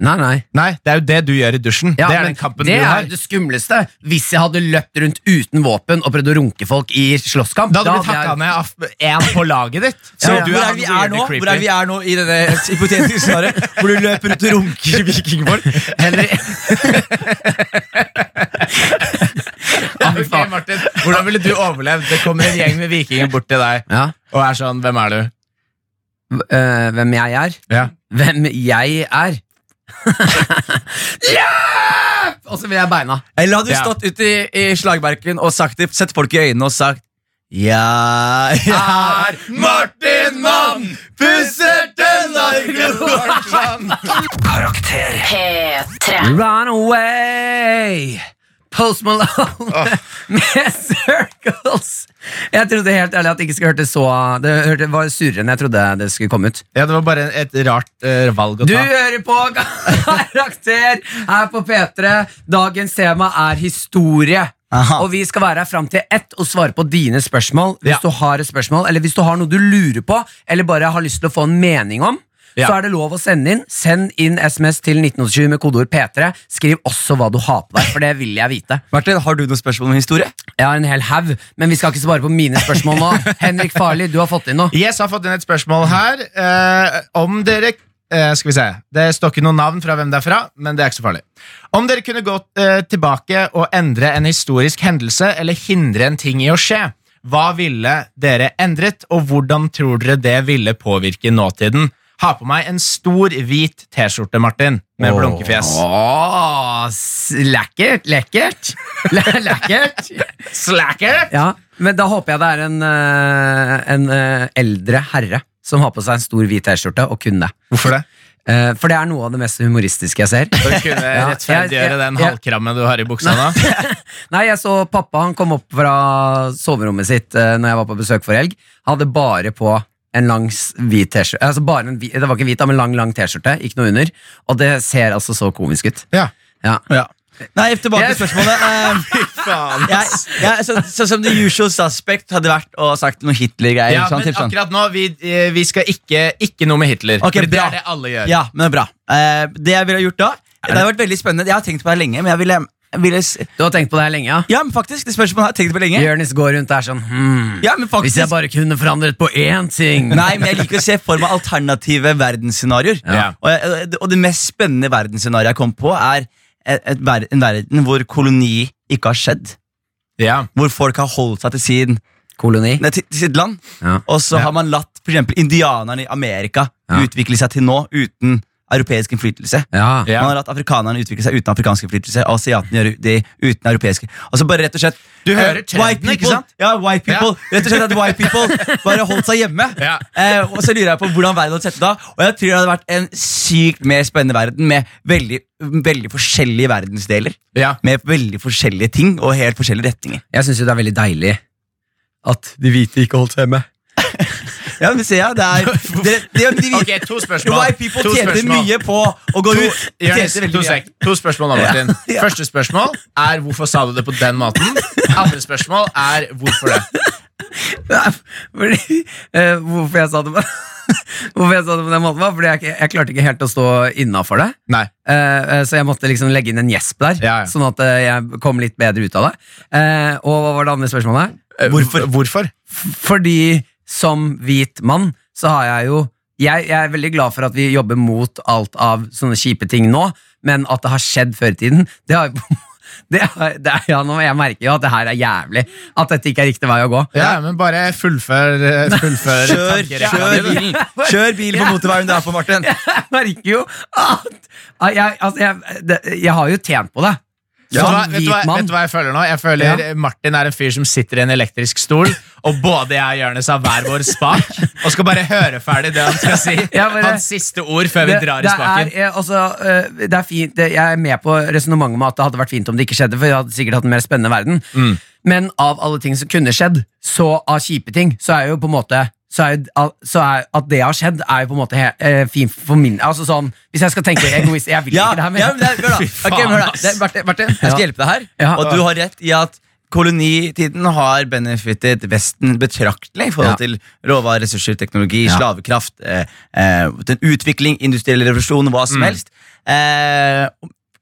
C: Nei, nei.
E: Nei, det er jo det du gjør i dusjen.
C: Ja,
E: det er
C: men
E: den kampen
C: det
E: du
C: er
E: har.
C: jo det skumleste. Hvis jeg hadde løpt rundt uten våpen og prøvd å runke folk i slåsskamp
E: Da hadde du blitt
C: jeg-
E: hakka ned av én på laget ditt. Så
D: Så
E: du
D: hvor,
E: er
D: er
E: han
D: vi er
E: weird
D: nå,
E: og
D: hvor er
E: creepy.
D: vi er nå i denne hypotetiske svaret? Hvor du løper ut og runker vikingfolk?
C: Henrik,
E: Ok, Martin, hvordan ville du overlevd? Det kommer en gjeng med vikinger bort til deg
C: ja.
E: og er sånn Hvem er du?
C: øh, hvem jeg er?
E: Ja.
C: Hvem jeg er? Hjelp! Og så vil jeg beina.
D: Eller hadde du
E: Ja.
D: stått ute i, i slagmerken og sagt det, sett folk i øynene og sagt Ja, jeg er Martin Mann, pusser tenna i grovt vann.
A: Karakter.
F: P3.
C: Run away! Post Malone med Circles. Jeg trodde helt ærlig at det ikke skulle hørte så Det hørte, var surere enn jeg trodde det skulle komme ut.
E: Ja, Det var bare et rart eh, valg å
C: Du
E: ta.
C: hører på Karakter her på P3. Dagens tema er historie.
D: Aha.
C: Og vi skal være her fram til ett og svare på dine spørsmål. Hvis
E: Ja.
C: du har et spørsmål, eller hvis du har noe du lurer på, eller bare har lyst til å få en mening om,
E: Ja.
C: så er det lov å sende inn. Send inn SMS til 1987 med kodeord P3. Skriv også hva du har på deg, for det vil jeg vite.
D: Martin, har du noen spørsmål om historie?
C: Jeg har en hel haug, men vi skal ikke svare på mine spørsmål nå. Henrik Farli, du har fått inn noe.
E: Yes, jeg har fått inn et spørsmål her. eh, om dere eh, Skal vi se. Det står ikke noe navn fra hvem det er fra, men det er ikke så farlig. Om dere kunne gått eh, tilbake og endre en historisk hendelse eller hindre en ting i å skje, hva ville dere endret, og hvordan tror dere det ville påvirke nåtiden? Ha på meg en stor, hvit T-skjorte, Martin, med blunkefjes.
C: Åh, s- lekkert, lekkert. Le- Lekkert.
E: Slacker!
C: Ja, men da håper jeg det er en, eh, en eh, eldre herre som har på seg en stor hvit T-skjorte og kun det.
E: Hvorfor det?
C: Eh, For det er noe av det mest humoristiske jeg ser.
E: For å kunne
C: Ja, jeg- jeg-
E: rettferdiggjøre den
C: jeg-
E: halvkrammen du har i buksa nå.
C: Nei, jeg så pappa, han kom opp fra soverommet sitt eh, når jeg var på besøk for helg. Han hadde bare på en lang s- hvit T-skjorte. Altså bare en hvit, det var ikke hvit, da, men lang, lang T-skjorte. Ikke noe under. Og det ser altså så komisk ut.
E: Ja.
C: Ja.
D: Nei, tilbake til
C: Jeg-
D: spørsmålet. Eh,
E: Faen.
D: jeg, jeg, så, så som the usual suspect hadde vært og sagt noe Hitler-greier.
E: Ja,
D: sånn,
E: men
D: typ sånn.
E: akkurat nå, vi, eh, vi skal ikke, ikke noe med Hitler.
D: Ok,
E: for det
D: bra.
E: er det alle gjør.
D: Ja, men det er bra. Eh, det jeg ville ha gjort da Det har vært veldig spennende. Jeg har tenkt på det her lenge, men jeg ville, jeg ville s-
C: Du har tenkt på det her lenge, ja?
D: Ja, men faktisk, det spørsmålet har jeg tenkt på lenge.
C: Jonis går rundt der sånn hmm.
D: Ja, men
C: Hvis jeg
D: faktisk
C: bare kunne forandret på én ting
D: Nei, men jeg liker å se for meg alternative verdensscenarioer.
E: Ja.
D: Og, jeg- og det mest spennende verdensscenarioet jeg kom på, er et, et, ver- en verden hvor koloni ikke har skjedd.
E: Ja.
D: Hvor folk har holdt seg til sin
C: Koloni.
D: Nei, til, til sitt land.
C: Ja.
D: Og så
E: Ja.
D: har man latt for eksempel indianerne i Amerika
C: Ja.
D: utvikle seg til nå uten europeisk innflytelse.
C: Ja.
E: Ja.
D: Man har latt afrikanerne utvikle seg uten afrikansk innflytelse. og Asiatene gjør det uten europeiske. Altså bare rett og slett
E: Du hører
D: eh,
E: trenden,
D: white people,
E: ikke sant?
D: Ja, white people. Rett og slett at white people bare holdt seg hjemme.
E: Ja.
D: Eh, og så lurer jeg på hvordan verden hadde sett ut da. Og jeg tror det hadde vært en sykt mer spennende verden med veldig, veldig forskjellige verdensdeler.
E: Ja.
D: Med veldig forskjellige ting og helt forskjellige retninger.
C: Jeg syns jo det er veldig deilig at de hvite ikke holdt seg hjemme.
D: Ja, men ser jeg, det er det, det, det,
E: Ok, to spørsmål.
D: White people
E: To
D: tjente
E: spørsmål.
D: mye på å gå
E: To,
D: ut.
E: Jonas,
D: Tjente veldig
E: to,
D: mye.
E: sek. to spørsmål nå, Martin. Første spørsmål er hvorfor sa du det på den måten? Andre spørsmål er hvorfor det.
C: Nei, Fordi, eh, hvorfor jeg sa det på Hvorfor jeg sa det på den måten var Fordi jeg, ikke- jeg klarte ikke helt å stå innafor det.
E: Nei.
C: Eh, eh, så jeg måtte liksom legge inn en gjesp der,
E: Ja, ja.
C: sånn at eh, jeg kom litt bedre ut av det. Eh, og hva var det andre spørsmålet?
E: Hvorfor? Eh, Hvorfor?
C: F- Fordi som hvit mann så har jeg jo jeg, jeg er veldig glad for at vi jobber mot alt av sånne kjipe ting nå, men at det har skjedd før i tiden, det har jo det, har- det er, ja, nå, jeg merker jo at det her er jævlig. At dette ikke er riktig vei å gå.
E: Ja, men bare fullfør, eh, fullfør
D: Kjør,
E: tankerekka
D: kjør
E: di, du.
D: bilen Kjør bilen på motorveien du er på, Martin.
C: Jeg merker jo at at jeg, altså jeg, det, jeg har jo tjent på det.
E: Ja,
C: Som
E: vet, du hva- vet, du hva, vet du hva jeg føler nå? Jeg føler Martin er en fyr som sitter i en elektrisk stol, og både jeg og Jonis har hver vår spak, og skal bare høre ferdig det han skal si.
C: Ja, bare-
E: Hans siste ord før
C: Det,
E: vi drar
C: det
E: i spaken.
C: Er, eh, altså, eh, det er fint, det- jeg er med på resonnementet om at det hadde vært fint om det ikke skjedde, for jeg hadde sikkert hatt en mer spennende verden.
D: Mm.
C: Men av alle ting som kunne skjedd, så av kjipe ting, så er jo på en måte så er, jo- så er, At det har skjedd, er jo på en måte he, eh, fint for min Altså sånn, Hvis jeg skal tenke egoist Jeg vil
D: Ja,
C: ikke det her mer.
D: ja, men det er, hør da. Ok, men hør da. Det er, Martin, Martin, jeg skal
C: Ja.
D: hjelpe deg her.
C: Ja.
D: Og du har rett i at kolonitiden har benefittet Vesten betraktelig i forhold
C: Ja.
D: til råvarer, ressurser, teknologi,
C: Ja.
D: slavekraft, eh, eh, til utvikling, industriell revolusjon, hva
C: Mm.
D: som helst. Eh,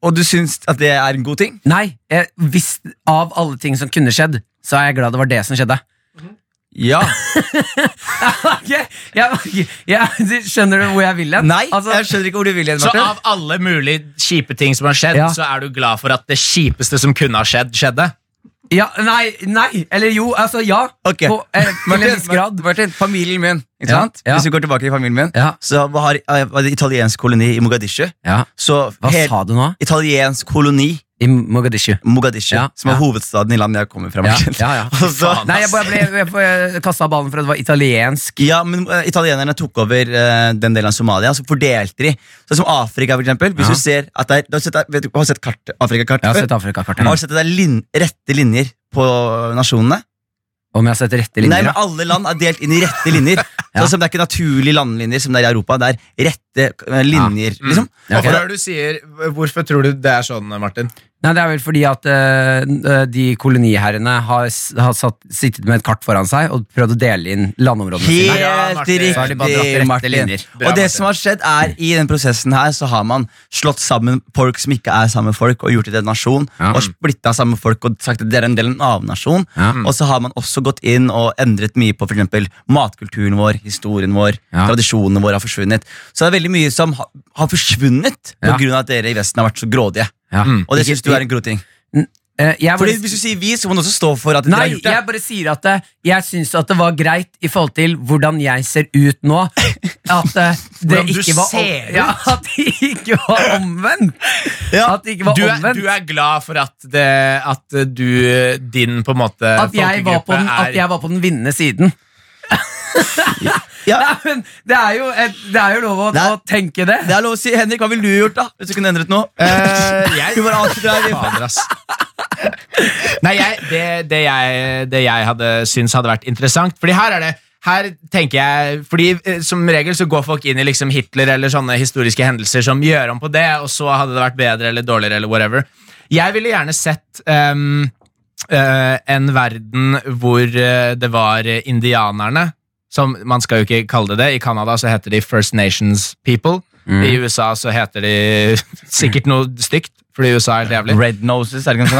D: og du syns at det er en god ting?
C: Nei, eh, hvis av alle ting som kunne skjedd, så er jeg glad det var det som skjedde.
D: Ja.
C: Ok, jeg, jeg, skjønner du hvor jeg vil hen?
D: Nei,
C: Altså,
D: jeg skjønner ikke hvor du vil hen,
E: Så
D: Martin.
E: av alle mulige kjipe ting som har skjedd,
C: Ja.
E: så er du glad for at det kjipeste som kunne ha skjedd, skjedde?
C: ja, nei, nei, eller jo, altså ja.
D: Ok.
C: På, eh, til en
D: Martin,
C: viss grad.
D: Martin, familien min, ikke
C: Ja,
D: sant?
C: ja.
D: Hvis vi går tilbake til familien min,
C: Ja.
D: så var, eh, var det italiensk koloni i Mogadishu.
C: Ja.
D: Så
C: Hva
D: helt-
C: sa du nå?
D: italiensk koloni
C: I Mogadishu.
D: Mogadishu,
C: Ja,
D: som er
C: ja.
D: hovedstaden i landet jeg kommer fra.
C: Ja,
D: Martin.
C: ja, ja.
D: Og så-
C: Nei, jeg bare ble jeg, jeg kasta ballen for at det var italiensk.
D: ja, men eh, Italienerne tok over eh, den delen av Somalia, så fordelte de. Sånn som Afrika, for eksempel. Hvis
C: Ja.
D: du ser at det er, du har sett, vet du, har du sett kart, Afrika-kart
C: Jeg har
D: før?
C: sett Afrikakartet.
D: Har du sett at det er lin, rette linjer på nasjonene?
C: Om jeg har sett rette
D: Nei,
C: linjer?
D: men
C: ja.
D: Alle land er delt inn i rette linjer.
C: Ja.
D: Sånn som Det er ikke naturlige landlinjer som det er i Europa. Det er rette eh, linjer, liksom.
C: Ja, Mm. ok.
E: Og før du sier, hvorfor tror du det er sånn, Martin?
C: Nei, det er vel fordi at eh, n- eh, de koloniherrene har, s- har satt, sittet med et kart foran seg og prøvd å dele inn landområdene sine.
E: Ja,
D: Helt
E: Martin. Så har
C: de bare dratt
D: riktig,
C: rette
D: Martin.
C: linjer.
E: Bra,
D: Og det
E: Martin.
D: som har skjedd er I den prosessen her så har man slått sammen folk som ikke er samme folk, og gjort det til en nasjon.
C: Ja.
D: Og splitta samme folk og sagt at dere er en del av en annen nasjon.
C: Ja.
D: Og så har man også gått inn og endret mye på for eksempel matkulturen vår, historien vår,
C: Ja.
D: tradisjonene våre har forsvunnet. Så det er veldig mye som ha, har forsvunnet
C: Ja.
D: på grunn av at dere i Vesten har vært så grådige.
C: Ja.
D: Og det
C: Ikke-
D: syns du er en groting.
C: Eh, jeg
D: Mm. Fordi
C: bare-
D: Hvis du sier vi, så må du også stå for at dere har
C: Nei,
D: gjort det.
C: jeg bare sier at eh, jeg syns at det var greit i forhold til hvordan jeg ser ut nå. At eh, det
E: Hvordan du
C: ikke var
E: ser ut?
C: om, ja, at det ikke var omvendt.
D: Ja,
C: At det ikke var
E: Du er,
C: omvendt.
E: du er glad for at, det, at du, din på en måte
C: at, jeg var på den, at jeg var på den vinnende siden.
D: Ja.
C: Nei, men det er jo, et, det er jo lov å,
D: Det er-
C: å tenke det.
D: Det er lov å si, Henrik, hva ville du gjort da? Hvis du kunne endret noe?
E: Eh, jeg-
D: Du bare alltid drar i-
E: Fader, ass. Nei, jeg, det, det, jeg, det jeg hadde syntes hadde vært interessant Fordi her er det her tenker jeg, fordi eh, Som regel så går folk inn i liksom Hitler eller sånne historiske hendelser som gjør om på det, og så hadde det vært bedre eller dårligere. eller whatever Jeg ville gjerne sett ehm, eh, en verden hvor eh, det var eh, indianerne som, Man skal jo ikke kalle det det. I Canada så heter de First Nations People. I USA så heter de sikkert noe stygt, fordi USA er helt jævlig
D: Red noses, er det kanskje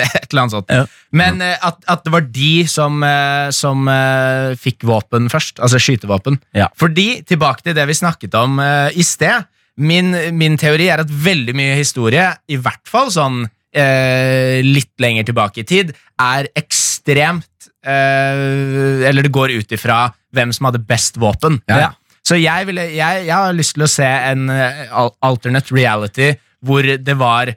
D: det?
E: et eller annet sånt.
D: Ja.
E: Men eh, at, at det var de som, eh, som eh, fikk våpen først, altså skytevåpen.
D: Ja.
E: Fordi, tilbake til det vi snakket om eh, i sted, min, min teori er at veldig mye historie, i hvert fall sånn eh, litt lenger tilbake i tid, er ekstremt eh, Eller det går ut ifra hvem som hadde best våpen.
C: Ja, ja.
E: Så jeg, ville, jeg, jeg har lyst til å se en eh, al- alternate reality hvor det var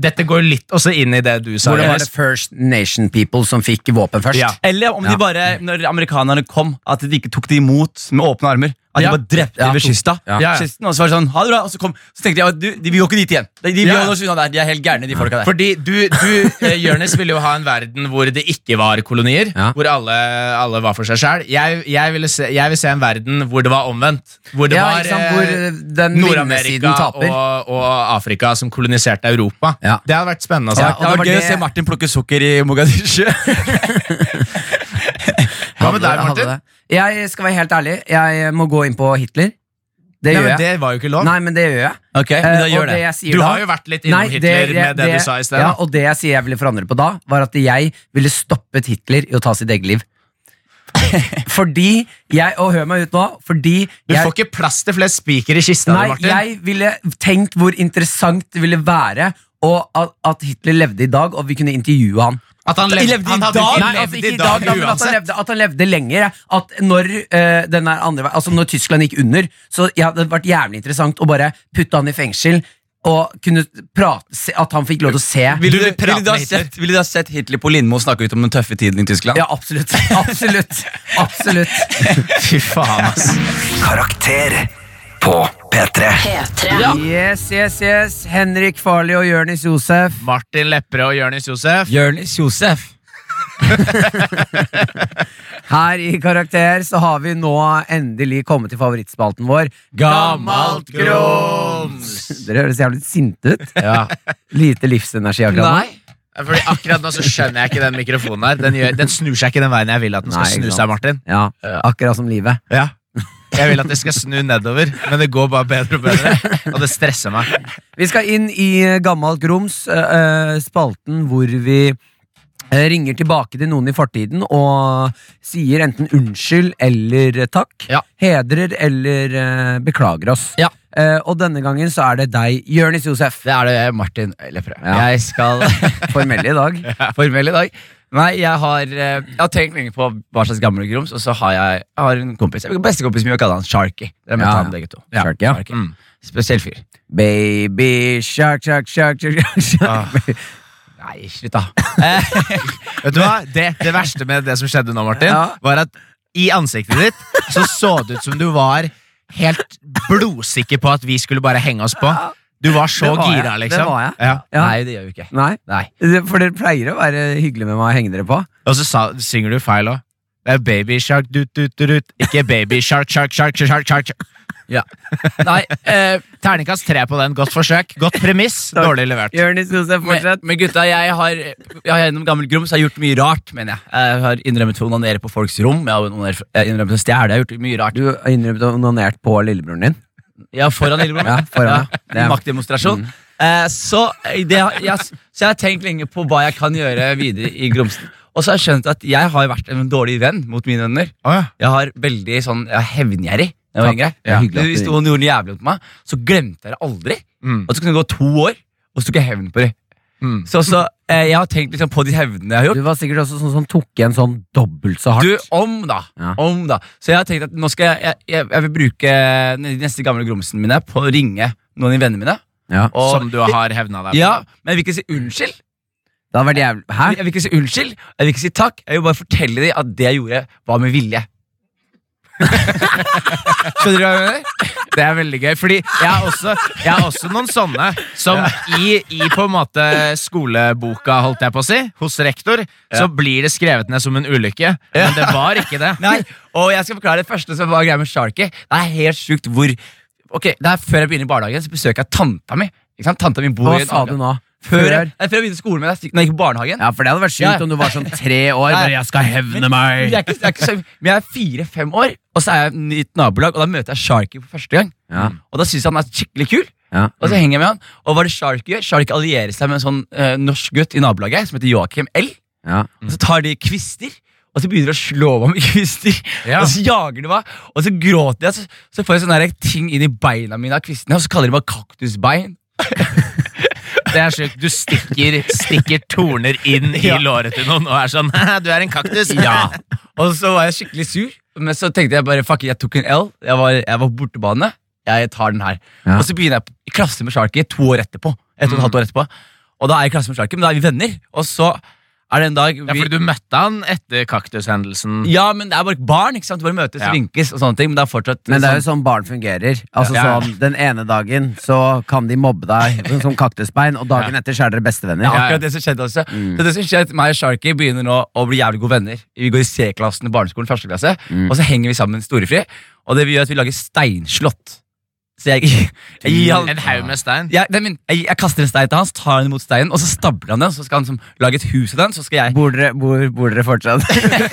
E: Dette går litt også inn i det du sa.
C: Hvor det var
E: Jonas.
C: det First Nation People som fikk våpen først.
E: Ja.
D: Eller om
C: Ja.
D: de bare, når amerikanerne kom, at de ikke tok de imot med åpne armer. At
E: Ja.
D: de bare drepte
C: Ja,
D: dem ved
C: tok-
D: kysta.
C: Ja.
E: Ja, ja.
D: Kysten, og så var det sånn, ha det bra, og så kom, så tenkte jeg, du, de vil jo ikke dit igjen. De, de, vil
E: Ja.
D: holde oss unna der, de er helt gærne, de folka der.
E: Fordi du, du eh, Jørnes, ville jo ha en verden hvor det ikke var kolonier.
C: Ja.
E: Hvor alle, alle var for seg sjøl. Jeg, jeg, ville se- jeg vil se en verden hvor det var omvendt. Hvor det
C: Ja,
E: var
C: ikke sant,
E: eh,
C: hvor eh, den
E: Nord-Amerika
C: vinnersiden taper.
E: og, og Afrika som koloniserte Europa.
C: Ja.
E: Det hadde vært spennende.
D: Ja,
E: Altså.
D: og det var gøy å se Martin plukke sukker i Mogadishu.
E: Hva Hva
C: hadde-
E: med deg, Martin?
C: hadde det. Jeg skal være helt ærlig, jeg må gå inn på Hitler. Det
E: Nei,
C: gjør
E: men
C: jeg.
E: det var jo ikke lov.
C: Nei, men det gjør jeg.
D: Ok, men
C: Eh,
D: da
C: og
D: gjør
C: det
D: det.
C: jeg sier
E: Du
C: da-
E: har jo vært litt innom
C: Nei,
E: Hitler med det, du sa i sted.
C: Ja,
E: da.
C: og det jeg sier jeg ville forandre på da, var at jeg ville stoppet Hitler i å ta sitt eget liv. fordi jeg Og hør meg ut nå. Fordi
E: du
C: jeg
E: får ikke plass til flest spiker i kista di,
C: Nei,
E: Martin.
C: jeg ville tenkt hvor interessant det ville være og at, at Hitler levde i dag, og vi kunne intervjue han.
E: At han levde,
D: levde i
E: han hadde
D: dag?
E: ikke
C: Nei, altså
E: levd
C: ikke i dag, da, men at han,
E: uansett.
C: levde, at han levde lenger. jeg. At når, eh, den der andre, vei- altså når Tyskland gikk under, så ja, det hadde vært jævlig interessant å bare putte han i fengsel og kunne prate, se, at han fikk lov til å se.
D: Ville du,
E: vil prate
D: ville, du ha
E: med Hitler.
D: sett, ville du ha sett Hitler på Lindmo snakke ut om den tøffe tiden i Tyskland?
C: Ja, absolutt. Absolutt. absolutt.
E: Fy faen, ass.
A: Karakter på P3.
F: P3.
C: Yes, yes, yes. Henrik Farley og Jørnis Josef.
E: Martin Lepperød og Jonis Josef.
D: Jonis Josef.
C: Her i Karakter så har vi nå endelig kommet til favorittspalten vår.
D: Gammalt
E: grums!
C: Dere høres jævlig sinte ut.
E: Ja.
C: Lite livsenergi akkurat nå.
E: Fordi akkurat nå så skjønner jeg ikke den mikrofonen her. Den, gjør, den snur seg ikke den veien jeg vil at den skal
C: Nei, ikke
E: snu
C: sant.
E: seg, Martin.
C: Ja, akkurat som livet.
E: Ja. Jeg vil at det skal snu nedover, men det går bare bedre og bedre. Og det stresser meg.
C: Vi skal inn i eh, Gammalt grums, eh, eh, spalten hvor vi eh, ringer tilbake til noen i fortiden og sier enten unnskyld eller eh, takk.
E: Ja.
C: Hedrer eller eh, beklager oss.
D: Ja.
C: Eh, og denne gangen så er det deg, Jørnis Josef.
D: Det er det jeg, Martin Lepperød.
C: Ja.
D: Jeg skal
C: Formell i dag.
D: formell i dag. Nei, jeg har, eh, jeg har tenkt lenge på hva slags gamle grums, og så har jeg, jeg har en kompis. Jeg Bestekompis min, jeg kaller han Sharky. Dere har møtt
C: Ja,
D: han begge to.
C: ja. Sharky, ja.
E: Mm.
D: Spesiell fyr.
C: Baby shark, shark, shark, shark, shark, shark.
D: Nei, slutt, da.
E: Vet du hva? Det, det verste med det som skjedde nå, Martin,
C: Ja.
E: var at i ansiktet ditt så så det ut som du var helt blodsikker på at vi skulle bare henge oss på. Du var så
C: Det var jeg.
E: gira,
C: Det
E: liksom.
C: var jeg.
E: Ja.
C: Ja.
D: Nei, det gjør vi ikke.
C: Nei.
D: Nei.
C: Det- For dere pleier å være hyggelige med meg og henge dere på.
E: Og så sa, synger du feil òg. Det er baby shark, dut, dut, dut, dut. Ikke baby shark, shark, shark, shark, shark, shark.
D: Ja. Nei, eh,
E: Terningkast tre på den. Godt forsøk. Godt premiss. Dårlig levert.
C: Jørnis Josef,
D: Men,
C: fortsett.
D: men gutta, jeg har, jeg har gjennom gammel grums har jeg gjort mye rart, mener jeg. Jeg har innrømmet å onanere på folks rom, jeg har onanert- jeg har innrømmet å stjele, jeg har gjort mye rart.
C: Du har innrømmet å ha onanert på lillebroren din.
D: Ja, foran lillebror.
C: Ja, foran, ja. Det er-
D: Maktdemonstrasjon. Eh, så, eh, det, har- jeg, så jeg har tenkt lenge på hva jeg kan gjøre videre i grumsen. Og så har jeg skjønt at jeg har vært en dårlig venn mot mine venner.
E: Å, ja.
D: Jeg har veldig sånn, jeg er hevngjerrig. når Jeg var
C: Takk.
D: yngre.
C: Det er hyggelig at
D: Hvis
C: du-
D: noen gjorde noe jævlig mot meg, så glemte jeg det aldri.
E: Mm.
D: Og så kunne det gå to år, og så tok jeg hevn på det.
E: Mm.
D: Så, så eh, jeg har tenkt liksom på de hevnene jeg har gjort.
C: Du var sikkert også sånn som tok igjen sånn dobbelt så hardt.
D: Du, om da,
C: Ja.
D: om da Så jeg har tenkt at nå skal jeg Jeg, jeg, jeg vil bruke eh, de neste gamle grumsene mine På å ringe noen av vennene mine
C: Ja.
D: og,
E: Som du har hevna deg på.
D: Ja, men jeg vil ikke si unnskyld
C: Det hadde vært jævlig Hæ?
D: Jeg vil ikke si unnskyld Jeg vil ikke si takk Jeg vil bare fortelle dem at det jeg gjorde Var med vilje Skjønner du hva jeg mener?
E: Det er veldig gøy, fordi jeg har også, jeg har også noen sånne som i, i på en måte skoleboka, holdt jeg på å si, hos rektor, så blir det skrevet ned som en ulykke. Men det var ikke det.
D: Nei, og jeg skal forklare det første som var greia med Sharky Det er helt sykt hvor Ok, det er før jeg begynner i barnehagen Så besøker jeg tanta mi Ikke sant? Tanta mi bor
C: Hva
D: i en
C: sa du
D: annen-
C: nå?
D: Før jeg, nei, før jeg begynte skolen med deg Når jeg gikk i barnehagen
C: Ja, for det hadde vært
D: Ja,
C: sjukt
D: ja.
C: om du var sånn tre år.
D: Nei.
C: Bare, jeg skal hevne
D: Jeg er
C: meg!
D: ikke, jeg er ikke så, men jeg er fire-fem år, og så er jeg i et nabolag, og da møter jeg Sharky for første gang.
C: Ja.
D: Og da syns jeg han er skikkelig kul,
C: Ja.
D: og så henger jeg med han. Og hva er det Sharky gjør? Sharky allierer seg med en sånn eh, norsk gutt i nabolaget som heter Joakim L.
C: Ja.
D: Og så tar de kvister, og så begynner de å slå meg med kvister.
E: Ja.
D: Og så jager de meg, og så gråter jeg, så, så får jeg sånne der ting inn i beina mine av kvistene, og så kaller de meg kaktusbein.
E: Det er sjukt. Du stikker, stikker torner inn i låret til noen og er sånn Du er en kaktus.
D: Ja. Og så var jeg skikkelig sur, men så tenkte jeg bare fuck it, jeg tok en L. Jeg var, jeg var på bortebane. Jeg tar den her.
C: Ja.
D: Og så begynner jeg i klasse med Sharky to år etterpå. Et og et halvt år etterpå. Og da er jeg i klasse med Sharky, men da er vi venner. Og så er det en dag vi
E: Ja, fordi du møtte han etter kaktushendelsen.
D: Ja, men det er bare barn. ikke sant? Du bare møtes
E: Ja.
D: og vinkes og sånne ting. Men det er fortsatt
C: Men det er jo sånn
D: sånn-
C: barn fungerer. Altså
E: Ja.
C: sånn, Den ene dagen så kan de mobbe deg sånn som kaktusbein, og dagen etter så er dere bestevenner.
D: ja,
E: ja.
D: akkurat det som skjedde også. Så det som skjer at Meg og Sharky begynner nå å bli jævlig gode venner. Vi går i C-klassen i barneskolen, første klasse, og så henger vi sammen storefri. Og det vi gjør, er at vi lager steinslott. Så jeg, jeg gir han
B: En haug med stein.
D: jeg, det er min, jeg, jeg kaster en stein til han, så tar han imot steinen, og så stabler han den. Så skal han som, lage et hus av den. Så skal jeg
C: Bor dere, bor, bor dere fortsatt?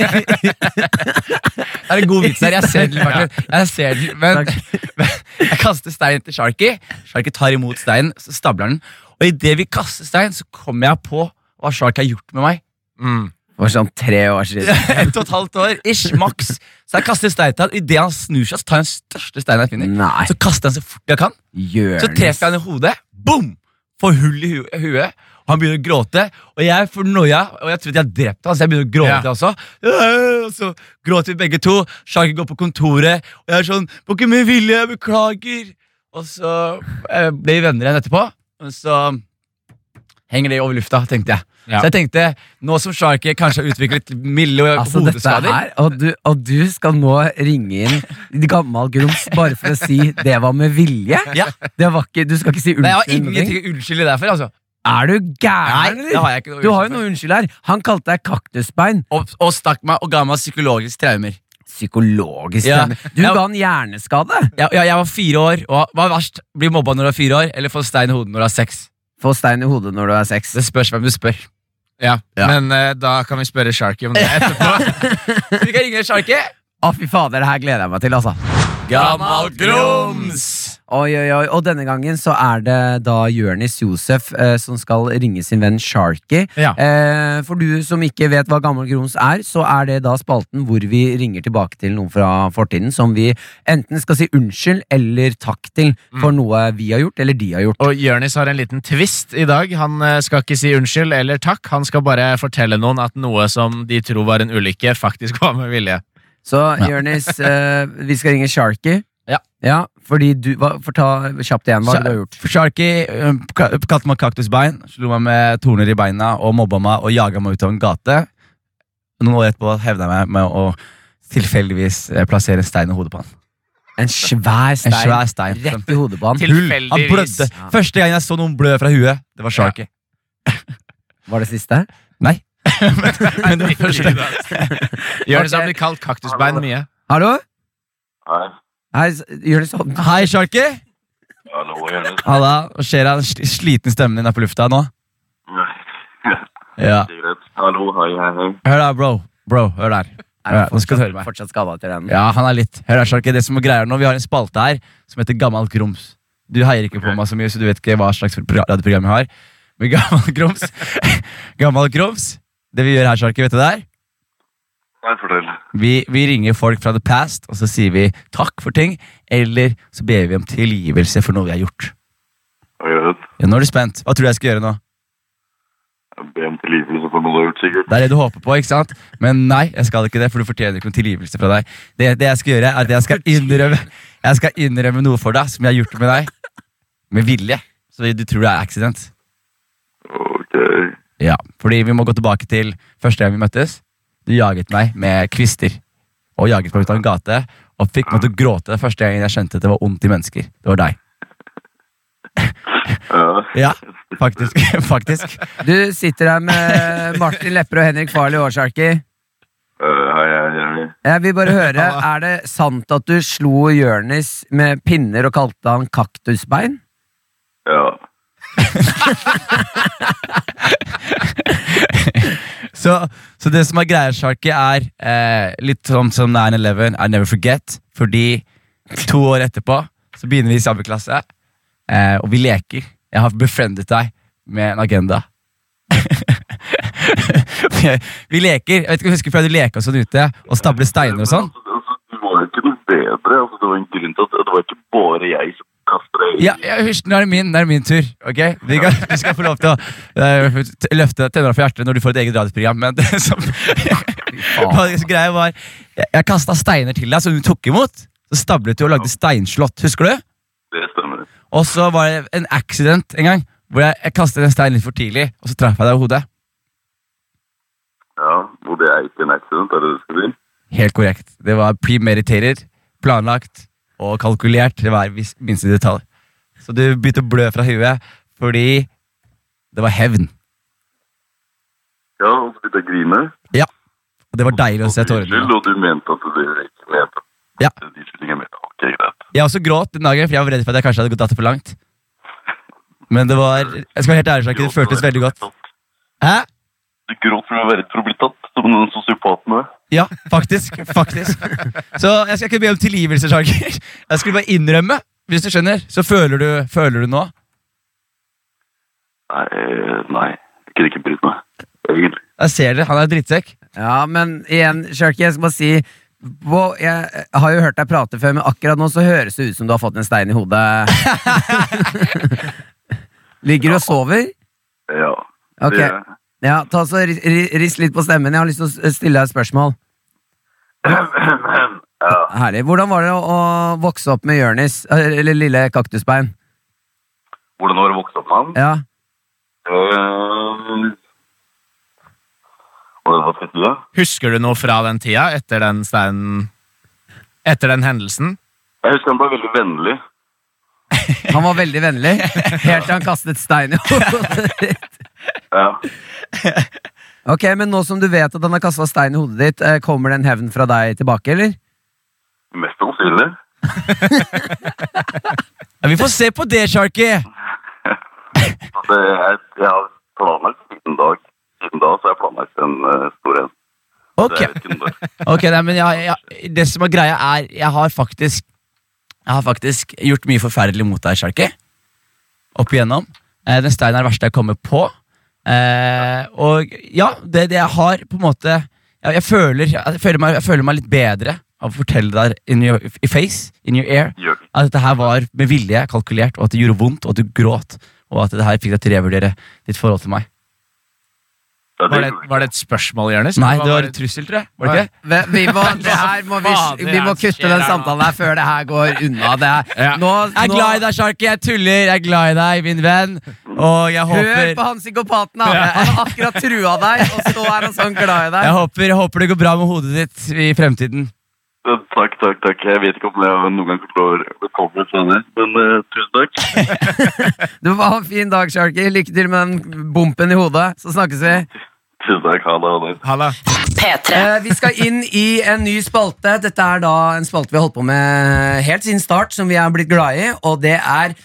D: Det er en god vits her. Jeg ser den, Martin. Jeg ser den, men jeg kaster stein til Sharky. Sharky tar imot steinen, så stabler den. Og idet vi kaster stein, så kommer jeg på hva Sharky har gjort med meg.
E: Mm.
C: Det var sånn tre år siden.
D: Ett og et halvt år, ish, maks. Så jeg kaster stein til han. Idet han snur seg, så tar jeg den største steinen jeg finner.
C: Nei,
D: Så kaster jeg den så fort jeg kan. Så
C: Jonis.
D: treffer jeg han i hodet. Boom! Får hull i hu- huet. Og han begynner å gråte, og jeg får noia. Og jeg trodde jeg drepte han, så jeg begynner å gråte også. Øh, Og så gråter vi begge to. Sharky går på kontoret, og jeg er sånn På ikke min vilje, jeg beklager. Og så eh, ble vi venner igjen etterpå. Og så henger det over lufta, tenkte jeg.
B: Ja.
D: Så jeg tenkte, nå som Sharky kanskje har utviklet milde
C: Altså dette
D: hodeskader
C: her, og du, og du skal nå ringe inn gammel grums bare for å si det var med vilje?
D: Ja.
C: Det var ikke, du skal ikke si
D: Nei, jeg har
C: unnskyld. noe.
D: ingenting å unnskylde deg for, altså.
C: Er du gæren,
D: Nei, det har jeg ikke noe
C: Du har jo
D: unnskyld for.
C: noe unnskyld her. Han kalte deg kaktusbein.
D: Og, og stakk meg og ga meg psykologiske traumer.
C: Psykologisk.
D: Ja.
C: traume. Du
D: Ja.
C: ga han hjerneskade.
D: Ja, ja, jeg var fire år, og hva er verst? Bli mobba når du er fire år, eller få stein i hodet når du er seks?
C: Få stein i hodet når du er seks.
D: Det spørs hvem du spør.
B: Ja.
D: Ja.
B: Men eh, da kan vi spørre Sharky om det etterpå.
D: Vi kan ringe Sharky.
C: Å, fy fader, det her gleder jeg meg til, altså.
D: Gammal grums!
C: Oi, oi, oi. Og denne gangen så er det da Jørnis Josef eh, som skal ringe sin venn Sharky.
B: Ja.
C: Eh, for du som ikke vet hva Gammel Grums er, så er det da spalten hvor vi ringer tilbake til noen fra fortiden som vi enten skal si unnskyld eller takk til
D: Mm.
C: for noe vi har gjort, eller de har gjort.
B: Og Jørnis har en liten twist i dag. Han eh, skal ikke si unnskyld eller takk. Han skal bare fortelle noen at noe som de tror var en ulykke, faktisk var med vilje.
C: Så Jørnis, eh, vi skal ringe Sharky.
D: Ja.
C: ja fordi du, hva, Forta kjapt igjen hva
D: Så-
C: du har gjort.
D: Sharky eh, ka- kalte meg kaktusbein, slo meg med torner i beina og mobba meg og jaga meg ut av en gate. Noen år etterpå hevda jeg meg med å tilfeldigvis eh, plassere en stein i hodet på han.
C: En svær stein,
D: En svær stein.
C: rett i hodet på han.
D: Han blødde.
B: Tilfeldigvis.
C: Ja.
D: Første gang jeg så noen blø fra huet, det var Sharky.
C: Var det siste?
D: Nei. Men det var første
B: Jørnis har blitt kalt kaktusbein mye.
C: Hallo?
K: Hei.
C: Hei, s- Jørnis, hold-
D: Hei, Sharky.
K: Hallo, Jonis.
D: Halla. Hva skjer? da? Sli- Sliten stemmen din er på lufta nå?
K: Nei,
D: Ja.
K: det er greit. Hallo, hei, hei, hei.
D: Hør da, bro. Bro, hør der.
C: Er
D: Ja,
C: han
D: nå skal du
C: fortsatt,
D: høre meg.
C: fortsatt skada til den.
D: Ja, han er litt. Hør der, Sjarke. Det som er greia nå, Vi har en spalte her som heter Gammalt grums. Du heier ikke på meg så mye, så du vet ikke hva slags pro- radioprogram jeg har. Men Gammalt grums Gammalt grums Det vi gjør her, Sjarke, vet du det er?
K: Nei, fortell.
D: Vi, vi ringer folk fra the past, og så sier vi takk for ting. Eller så ber vi om tilgivelse for noe vi har gjort.
K: Greit.
D: Ja, nå er du spent. Hva tror du jeg skal gjøre nå?
K: Jeg ber om tilgivelse for noe du har gjort, sikkert.
D: Det er det du håper på, ikke sant? Men nei, jeg skal ikke det, for du fortjener ikke noen tilgivelse fra deg. Det, det jeg skal gjøre, er at jeg skal innrømme Jeg skal innrømme noe for deg som jeg har gjort med deg. Med vilje. Så du tror det er accident.
K: Ok.
D: Ja, fordi vi må gå tilbake til første gang vi møttes. Du jaget meg med kvister. Og jaget meg ut av en gate. Og fikk meg til å gråte første gangen jeg skjønte at det var ondt i mennesker. Det var deg.
K: Ja.
D: Ja, faktisk. faktisk.
C: Du sitter her med Martin Lepper og Henrik Farley Årsarki.
K: Eh, hei, hei, hei.
C: Jeg vil bare høre, er det sant at du slo Jørnis med pinner og kalte han kaktusbein?
K: Ja.
D: Så, så det som er greia, Sharky, er eh, litt sånn som 9-11, I never forget. Fordi to år etterpå så begynner vi i samme klasse, eh, og vi leker. Jeg har befriendet deg med en agenda. vi leker. Jeg vet ikke om du husker før du leka sånn ute og stablet steiner og sånn.
K: Men Altså, altså, du var jo ikke noe bedre. Altså, det var en grunn til at det var ikke bare jeg som kastet deg. i-
D: Ja, ja hysj, nå er det min, nå er det min tur. ok? Vi kan, du skal få lov til å eh, t- løfte tenna fra hjertet når du får et eget radioprogram. Men det som, Hva som greia var, jeg, jeg kasta steiner til deg som du tok imot. Så stablet du og lagde steinslott. Husker du?
K: Det stemmer.
D: Og så var det en accident en gang hvor jeg, jeg kastet en stein litt for tidlig, og så traff jeg deg i hodet.
K: Ja, og det er ikke en accident, er det det du skal si?
D: Helt korrekt. Det var premeditated, planlagt og kalkulert. Det var vis- minste detalj. Så du begynte å blø fra huet fordi det var hevn.
K: Ja, og så begynte jeg å grine.
D: Ja. Og det var deilig å se
K: Og du
D: tårene.
K: unnskyld, Og du mente at du ikke mente
D: Ja.
K: at de skyldningene mente. jeg grep.
D: Jeg også gråt den dagen, for jeg var redd for at jeg kanskje hadde gått datt det for langt. Men det var Jeg skal være helt ærlig, Sjakke, det føltes veldig godt. Hæ?
K: Du gråt fordi du var redd for å bli tatt, som den sosiopaten du er.
D: Ja, faktisk. faktisk. Så jeg skal ikke be om tilgivelse, Sjakke. Jeg skulle bare innrømme. Hvis du skjønner, så føler du, føler du nå.
K: Nei, eh, nei. Jeg kunne ikke brydd meg. Egentlig.
D: Jeg ser det, han er drittsekk.
C: Ja, men igjen, Sharky, jeg skal bare si hvor- Jeg har jo hørt deg prate før, men akkurat nå så høres det ut som du har fått en stein i hodet. Ligger du og sover?
K: Ja.
C: Ok.
K: Det-
C: Ja, ta så ri- ri- Rist litt på stemmen. Jeg har lyst til å s- stille deg et spørsmål. Herlig. Hvordan var det å å vokse opp med Jonis, eller lille kaktusbein?
K: Hvordan var det å vokse opp med han?
C: Ja.
K: Eh, Hvordan var det å da?
B: Husker du noe fra den tida, etter den steinen Etter den hendelsen?
K: Jeg husker han ble veldig vennlig.
C: Han var veldig vennlig, helt til han kastet stein i hodet ditt.
K: Ja.
C: Ok, men nå som du vet at han har kasta stein i hodet ditt, eh, kommer det en hevn fra deg tilbake, eller?
K: Mest sannsynlig.
D: Ja, vi får se på det, Sharky.
K: Så det er, jeg har planlagt siden dag. Siden da så har jeg planlagt en eh, stor en. Så
D: Ok.
K: jeg vet ikke om det-
D: Ok, nei, men jeg, jeg, Det som er greia, er Jeg har faktisk Jeg har faktisk gjort mye forferdelig mot deg, Sharky. Opp igjennom. Eh, den steinen er det verste jeg kommer på. Eh, og ja, det, det jeg har på en måte jeg, jeg, føler, jeg, føler meg, jeg føler meg litt bedre av å fortelle deg in your i face, in your ear,
K: Gjør det.
D: at dette her var med vilje kalkulert, og at det gjorde vondt, og at du gråt, og at det her fikk deg til å revurdere ditt forhold til meg.
K: Ja,
B: Var det,
K: det gjorde jeg.
B: var det et spørsmål, Jonis?
D: Nei, det var en trussel, tror jeg. Var det ikke?
C: Vi, vi, må, det her må vi, vi må
D: altså.
C: kutte den samtalen her før det her går unna. Det her. Nå,
D: Jeg er
C: nå,
D: glad i deg, Sharky. Jeg tuller. Jeg er glad i deg, min venn. Og jeg
C: hør på
D: håper,
C: han psykopaten! da. Han har akkurat trua deg, og så er han sånn glad i
D: jeg
C: deg.
D: håper, jeg håper det går bra med hodet ditt i fremtiden.
K: Ja, Takk, takk, takk. Jeg vet ikke om jeg noen gang kommer til å bekomme senere, men eh, tusen takk.
C: Du må ha en fin dag, Sharky. Lykke til med den bumpen i hodet. Så snakkes vi.
K: Tusen takk. Ha det. Ha det.
B: Halla.
F: P3.
C: Eh, vi skal inn i en ny spalte. Dette er da en spalte vi har holdt på med helt siden start, som vi er blitt glad i, og det er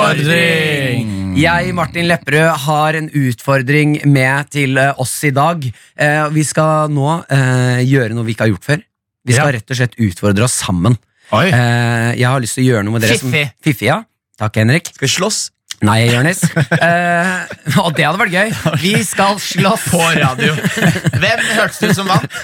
C: Utfordring! Jeg, Martin Lepperød, har en utfordring med til eh, oss i dag. Eh, Vi skal nå eh, gjøre noe vi ikke har gjort før. Vi skal rett og slett utfordre oss sammen.
B: Oi.
C: Eh, Jeg har lyst til å gjøre noe med dere
B: Fiffig.
C: som Fiffig, ja. Takk, Henrik.
D: Skal vi slåss?
C: Nei, Jonis. Eh, og det hadde vært gøy. Vi skal slåss. På radio.
B: Hvem hørtes det ut som vant?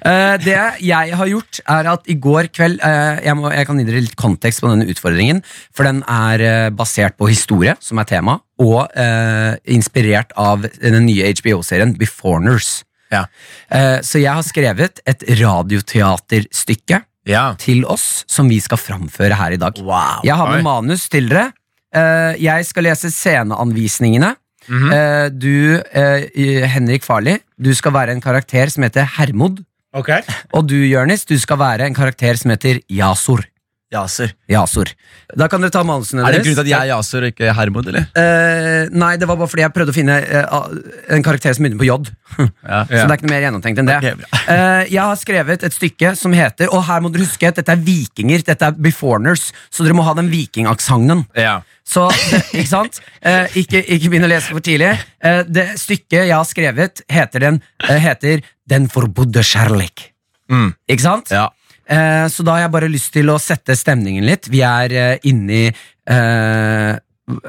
C: Eh, det jeg har gjort, er at i går kveld eh, jeg, må, jeg kan gi dere litt kontekst på denne utfordringen, for den er eh, basert på historie, som er tema, og eh, inspirert av den nye HBO-serien Beforeigners.
B: Ja.
C: Eh, så jeg har skrevet et radioteaterstykke
B: Ja.
C: til oss som vi skal framføre her i dag. Jeg har med
B: Oi.
C: manus til dere. Eh, jeg skal lese sceneanvisningene.
B: Mhm.
C: Eh, du, eh, Henrik Farli, du skal være en karakter som heter Hermod.
B: Ok.
C: Og du, Jørnis, du skal være en karakter som heter Jasor.
D: Ja, sir.
C: Jasor. Da kan dere ta manusene
D: Er det
C: deres.
D: grunnen til at jeg er Yasur og ikke Hermod, eller?
C: Eh, nei, det var bare fordi jeg prøvde å finne eh, a- en karakter som begynner på J.
D: Ja.
C: Så det er ikke noe mer gjennomtenkt enn det.
D: Ok, bra.
C: Eh, jeg har skrevet et stykke som heter Og her må dere huske at dette er vikinger, dette er beforeigners, så dere må ha den vikingaksenten.
B: Ja.
C: Så, ikke sant? Eh, ikke, ikke begynn å lese for tidlig. Eh, det stykket jeg har skrevet, heter den eh, heter Den forbudde kjærleik.
B: Mm.
C: Ikke sant?
D: Ja.
C: Eh, så da har jeg bare lyst til å sette stemningen litt. Vi er eh, inni eh,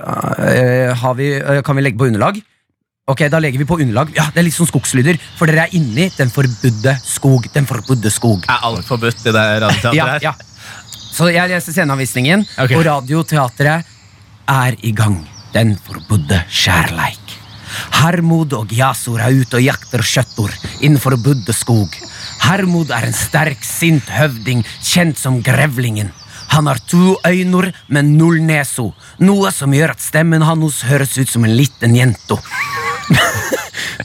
C: eh, har vi, eh, Kan vi legge på underlag? Ok, da legger vi på underlag. Ja, Det er litt sånn skogslyder, for dere er inni Den forbudde skog. Den forbudde skog.
B: Er alt forbudt i det radioteatret
C: Ja,
B: her?
C: ja. Så jeg leser sceneanvisningen,
B: Ok.
C: og radioteatret er i gang. Den forbudde kjærleik. Hermod og Jasor er ute og jakter kjøttor innenfor forbudde skog. Hermod er en sterk, sint høvding kjent som Grevlingen. Han har to øyne, men null neso, noe som gjør at stemmen hans høres ut som en liten jento.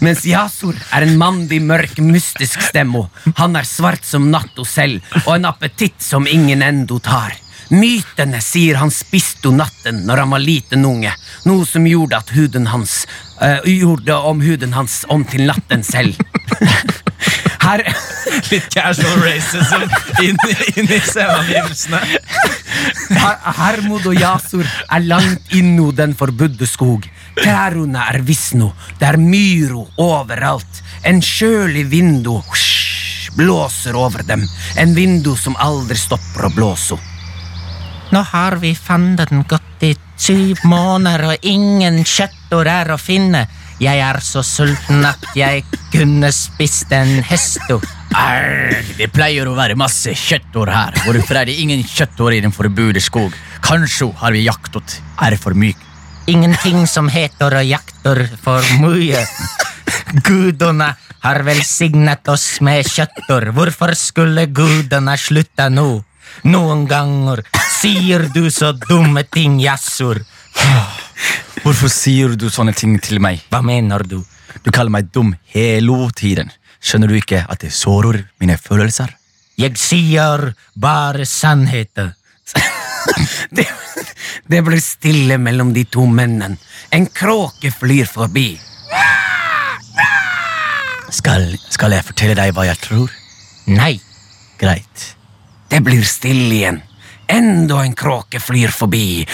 C: Mens Jasor er en mandig, mørk, mystisk stemmo. Han er svart som natto selv, og en appetitt som ingen endo tar. Mytene sier han spiste om natten når han var liten unge, noe som gjorde at huden hans eh, gjorde om huden hans om til natten selv. Her
B: Litt casual racism inn, inn i sceneomgivelsene.
C: Her- Hermod og Jasur er langt inno den forbudde skog. Trærne er visno, det er myro overalt. En kjølig vindu husj, blåser over dem. En vindu som aldri stopper å blåse.
J: Nå har vi fanden gått i syv måneder, og ingen kjøttord er å finne. Jeg er så sulten at jeg kunne spist en hesto.
D: Arr, det pleier å være masse kjøttår her. Hvorfor er det ingen kjøttår i den forbudet skog? Kanskje har vi jaktet er for myk.
J: Ingenting som heter og jakter for mye. Gudene har velsignet oss med kjøtter. Hvorfor skulle gudene slutte nå? Noen ganger sier du så dumme ting, Jassur.
D: Hvorfor sier du sånne ting til meg?
J: Hva mener du?
D: Du kaller meg dum hele tiden. Skjønner du ikke at det sårer mine følelser?
J: Jeg sier bare sannheten.
C: Det blir stille mellom de to mennene. En kråke flyr forbi.
D: Skal, skal jeg fortelle deg hva jeg tror?
J: Nei.
D: Greit.
C: Det blir stille igjen. Enda en kråke flyr forbi.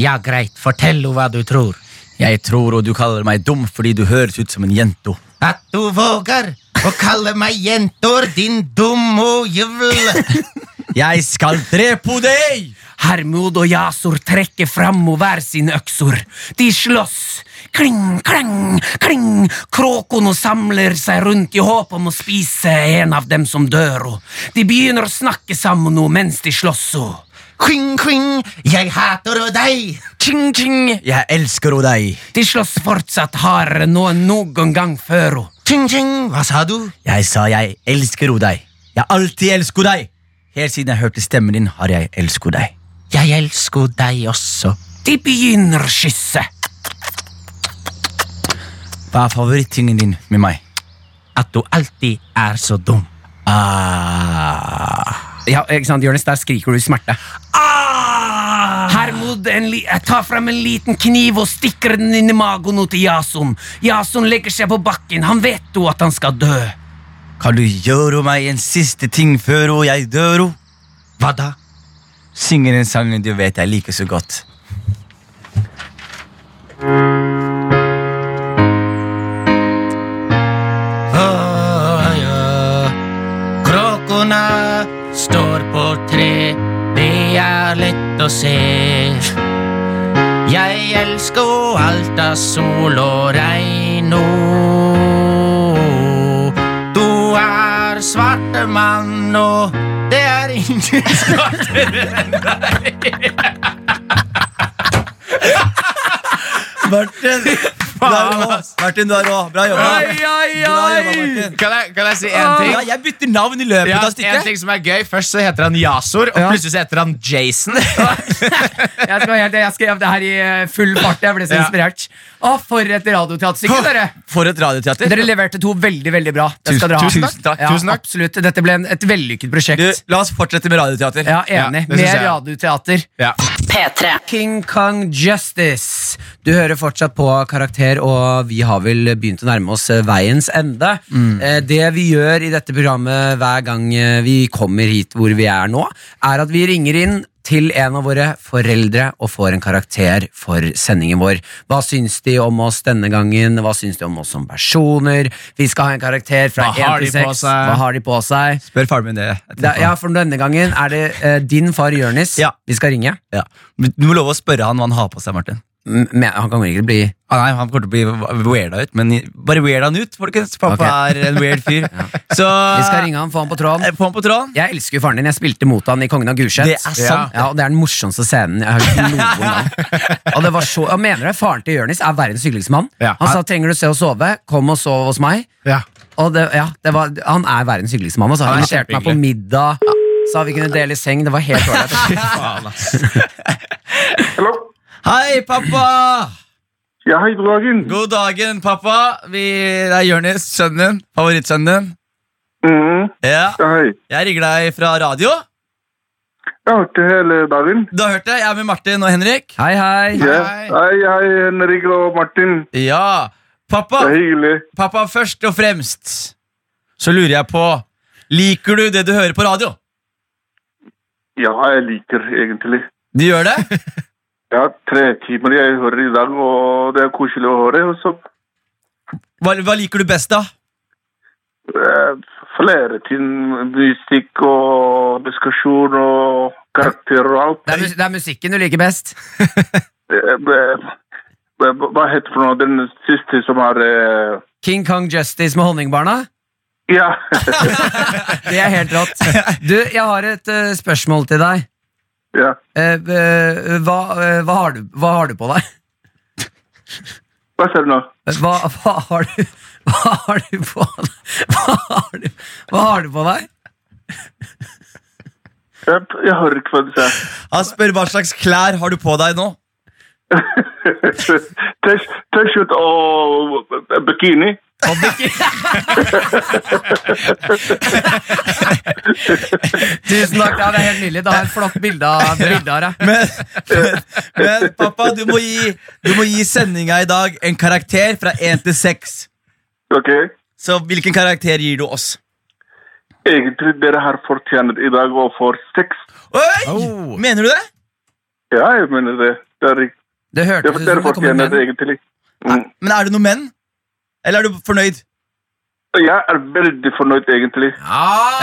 J: Ja, greit. Fortell hva du tror.
D: Jeg tror og du kaller meg dum fordi du høres ut som en jente.
J: At du våger å kalle meg jentor, din dumme jævel!
D: Jeg skal drepe deg!
C: Hermod og Jasur trekker fram og hver sine økser. De slåss. Kling, klang, kling. Kråkene samler seg rundt i håp om å spise en av dem som dør. og De begynner å snakke sammen nå mens de slåss. og
J: Kving, kving, jeg hater deg!
C: Kling, kling.
D: Jeg elsker deg.
C: De slåss fortsatt hardere nå enn noen gang før. og
J: Ting, ting, hva sa du?
D: Jeg sa jeg elsker deg. Jeg alltid elsker deg. Helt siden jeg hørte stemmen din, har jeg elsket deg.
J: Jeg elsker deg også.
C: De begynner å kysse.
D: Hva er favorittingen din med meg?
J: At du alltid er så dum.
C: Ah. Ja, ikke sant, Jonis, der skriker du i smerte. Ah. Hermod en li jeg tar fram en liten kniv og stikker den inn i magen nå til Jason. Jason legger seg på bakken. Han vet jo at han skal dø.
D: Kan du gjøre meg en siste ting før og jeg dør?
J: Hva da?
D: Synger en sang du vet jeg liker så godt.
J: Åh, ja. Kråkene står på tre, det er lett å se. Jeg elsker alt av sol og regn og Du er svarte mann, og det er ingen
D: Martin! Du er rå. Martin, du er rå. Bra jobba. Bra jobba, Martin.
E: Kan jeg, kan jeg si én ting?
D: Ja, jeg bytter navn i løpet
E: Ja,
D: av
E: en
D: stykket.
E: ting som er gøy Først så heter han Jasor, og plutselig så heter han Jason.
L: Jeg, skal, jeg, jeg skrev det her i eh, full fart. Jeg ble så
E: Ja.
L: inspirert. Å, for et radioteaterstykke, dere!
D: For et radioteater.
L: Dere leverte to veldig veldig bra. Det skal dere ha.
E: Tusen- tusen takk,
L: Ja,
E: tusen takk.
L: Absolutt. Dette ble en, et vellykket prosjekt.
D: Du, la oss fortsette med radioteater.
L: ja,
E: Ja,
L: Enig.
E: det synes
L: Mer
E: jeg.
L: radioteater.
E: ja.
F: P3.
C: King Kong Justice. Du hører fortsatt på Karakter, og vi har vel begynt å nærme oss eh, veiens ende.
E: Mm.
C: Eh, Det vi gjør i dette programmet hver gang eh, vi kommer hit hvor vi er nå, er at vi ringer inn til en av våre foreldre og får en karakter for sendingen vår. Hva syns de om oss denne gangen? Hva syns de om oss som personer? Vi skal ha en karakter fra
E: Hva har
C: 1 til
E: de på
C: 6.
E: seg?
C: Hva har de på seg?
D: Spør faren min det.
C: Da, ja, for denne gangen er det eh, din far Jørnis
D: Ja.
C: vi skal ringe.
D: Ja. Men Du må love å spørre han hva han har på seg, Martin.
C: M- Men han kan jo ikke bli
D: Ah, nei, Han kommer til å bli weirda ut, men bare weird han ut, folkens. Pappa er en weird fyr. Så
C: Vi skal ringe han, få han på tråden.
D: Eh, Få han på tråden.
C: Jeg elsker jo faren din. Jeg spilte mot han i Kongen av Gulset.
D: Det er sant.
C: Ja, og det er den morsomste scenen jeg har hørt noen gang. Og det var så, jeg mener det, Faren til Jonis er verdens hyggeligste mann.
E: Ja.
C: Han sa 'trenger du se og sove', kom og sov hos meg.
E: Ja.
C: Og det, ja, det var, han er verdens hyggeligste mann. Altså. Han
E: Han er
C: inviterte meg på middag, sa vi kunne dele seng. Det var helt ålreit.
D: Hei, pappa!
K: Ja, hei, god dagen.
D: God dagen, pappa. Vi, det er Jonis, sønnen din. Favorittsønnen din.
K: Mhm.
D: Ja,
K: Ja, hei.
D: jeg ringer deg fra radio.
K: Jeg har hørt det hele dagen.
D: Du har hørt det? Jeg er med Martin og Henrik.
C: Hei, hei.
K: Ja. Hei, hei, Henrik og Martin.
D: Ja, Pappa, pappa, først og fremst så lurer jeg på Liker du det du hører på radio?
K: Ja, jeg liker egentlig.
D: Du gjør det?
K: Ja, tre timer jeg hører i dag, og det er koselig å høre. Og så
D: Hva, hva liker du best, da?
K: eh, flere ting, musikk og diskusjon og karakterer og alt.
L: Det er, mus det er musikken du liker best.
K: Eh, eh, eh, Hva heter for noe den siste som er eh,
C: King Kong Justice med Honningbarna?
K: Ja.
C: det er helt rått. Du, jeg har et eh, spørsmål til deg.
K: Ja.
C: Eh, eh, hva, eh, hva, har du, hva har du på deg?
K: Hva sa du nå?
C: Hva, hva har du Hva har du på deg? Hva har du, hva har du på deg?
K: Jeg, jeg hører ikke hva du sa.
D: Han spør hva slags klær har du på deg nå?
K: T-skjorte og bikini.
L: Tusen takk, ja, det er helt nydelig. Det har et flott bilde av bilde av deg.
D: Men, men, men pappa, du må gi, du må gi sendinga i dag en karakter fra én til seks.
K: Ok.
D: Så hvilken karakter gir du oss?
K: Egentlig dere har fortjent i dag å få seks.
D: Oi! Mener du det?
K: Ja, jeg mener det. Det er riktig.
C: Det
K: Ja, for dere fortjener det egentlig. Mm.
D: Men er det noen menn? Eller er du fornøyd?
K: Jeg er veldig fornøyd egentlig.
D: Ja, men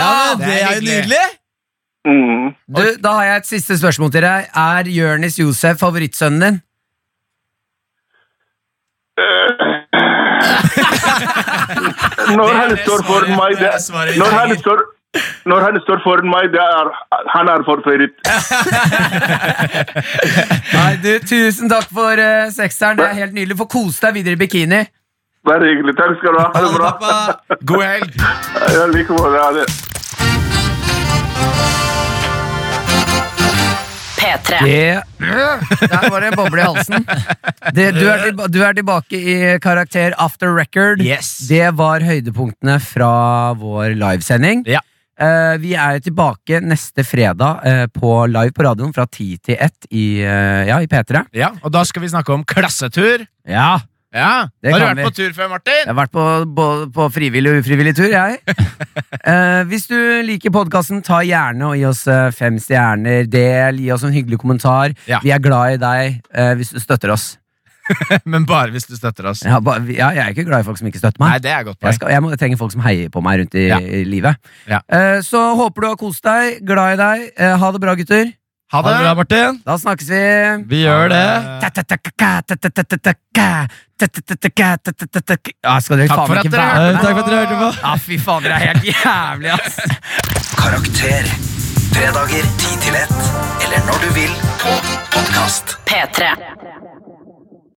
D: Ah, det er jo nydelig!
K: Mm.
C: Du, da har jeg et siste spørsmål til deg. Er Jonis Josef favorittsønnen din?
K: Når han står foran meg, det er, når han står når han står foran meg, det er han er forfeiret.
C: Nei, du, tusen takk for uh, sekseren. Det er helt nydelig. Få kose deg videre i bikini.
K: Bare hyggelig. Takk skal du ha. Ha det bra.
B: God helg!
K: Ja, likevel. Ha det.
F: P3.
C: Det Der var det boble i halsen. Det, du, er tilba du er tilbake i karakter after record.
B: Yes.
C: Det var høydepunktene fra vår livesending.
B: Ja.
C: Eh, vi er jo tilbake neste fredag eh, på live på radioen fra 10 til 1 i, eh, ja, i P3.
B: Ja, og da skal vi snakke om klassetur.
C: Ja.
B: Ja,
C: Det
B: Har du
C: kan
B: vært på tur før, Martin?
C: Jeg har vært på, både på frivillig og ufrivillig tur, jeg. Eh, hvis du liker podkasten, ta gjerne og gi oss eh, fem stjerner. Del, gi oss en hyggelig kommentar.
B: Ja.
C: Vi er glad i deg eh, hvis du støtter oss.
B: Men bare hvis du støtter oss.
C: Ja, ba, ja, jeg er ikke glad i folk som ikke støtter
B: Nei,
C: meg.
B: det er godt
C: jeg,
B: poeng.
C: skal, jeg, må, jeg trenger folk som heier på meg rundt i,
B: Ja.
C: i livet.
B: Ja.
C: Eh, så håper du har kost deg. Glad i deg. Eh, ha det bra, gutter.
B: Ha det!
D: bra, Martin.
C: Da snakkes vi.
D: Vi gjør det.
C: Ta-ta-ta-ka-ka, ta-ta-ta-ta-ka, ta-ta-ta-ta-ka, ta-ta-ta-ta-ka. Ja, skal dere
B: Takk
C: faen
B: for at
C: ikke
B: dere
C: være
B: hørte
C: med?
B: på.
D: Takk for at dere hørte på.
C: Ja, fy faen, dere er helt jævlig, ass.
A: Karakter. Fredager 10 til 1. Eller når du vil på podkast.
F: P3.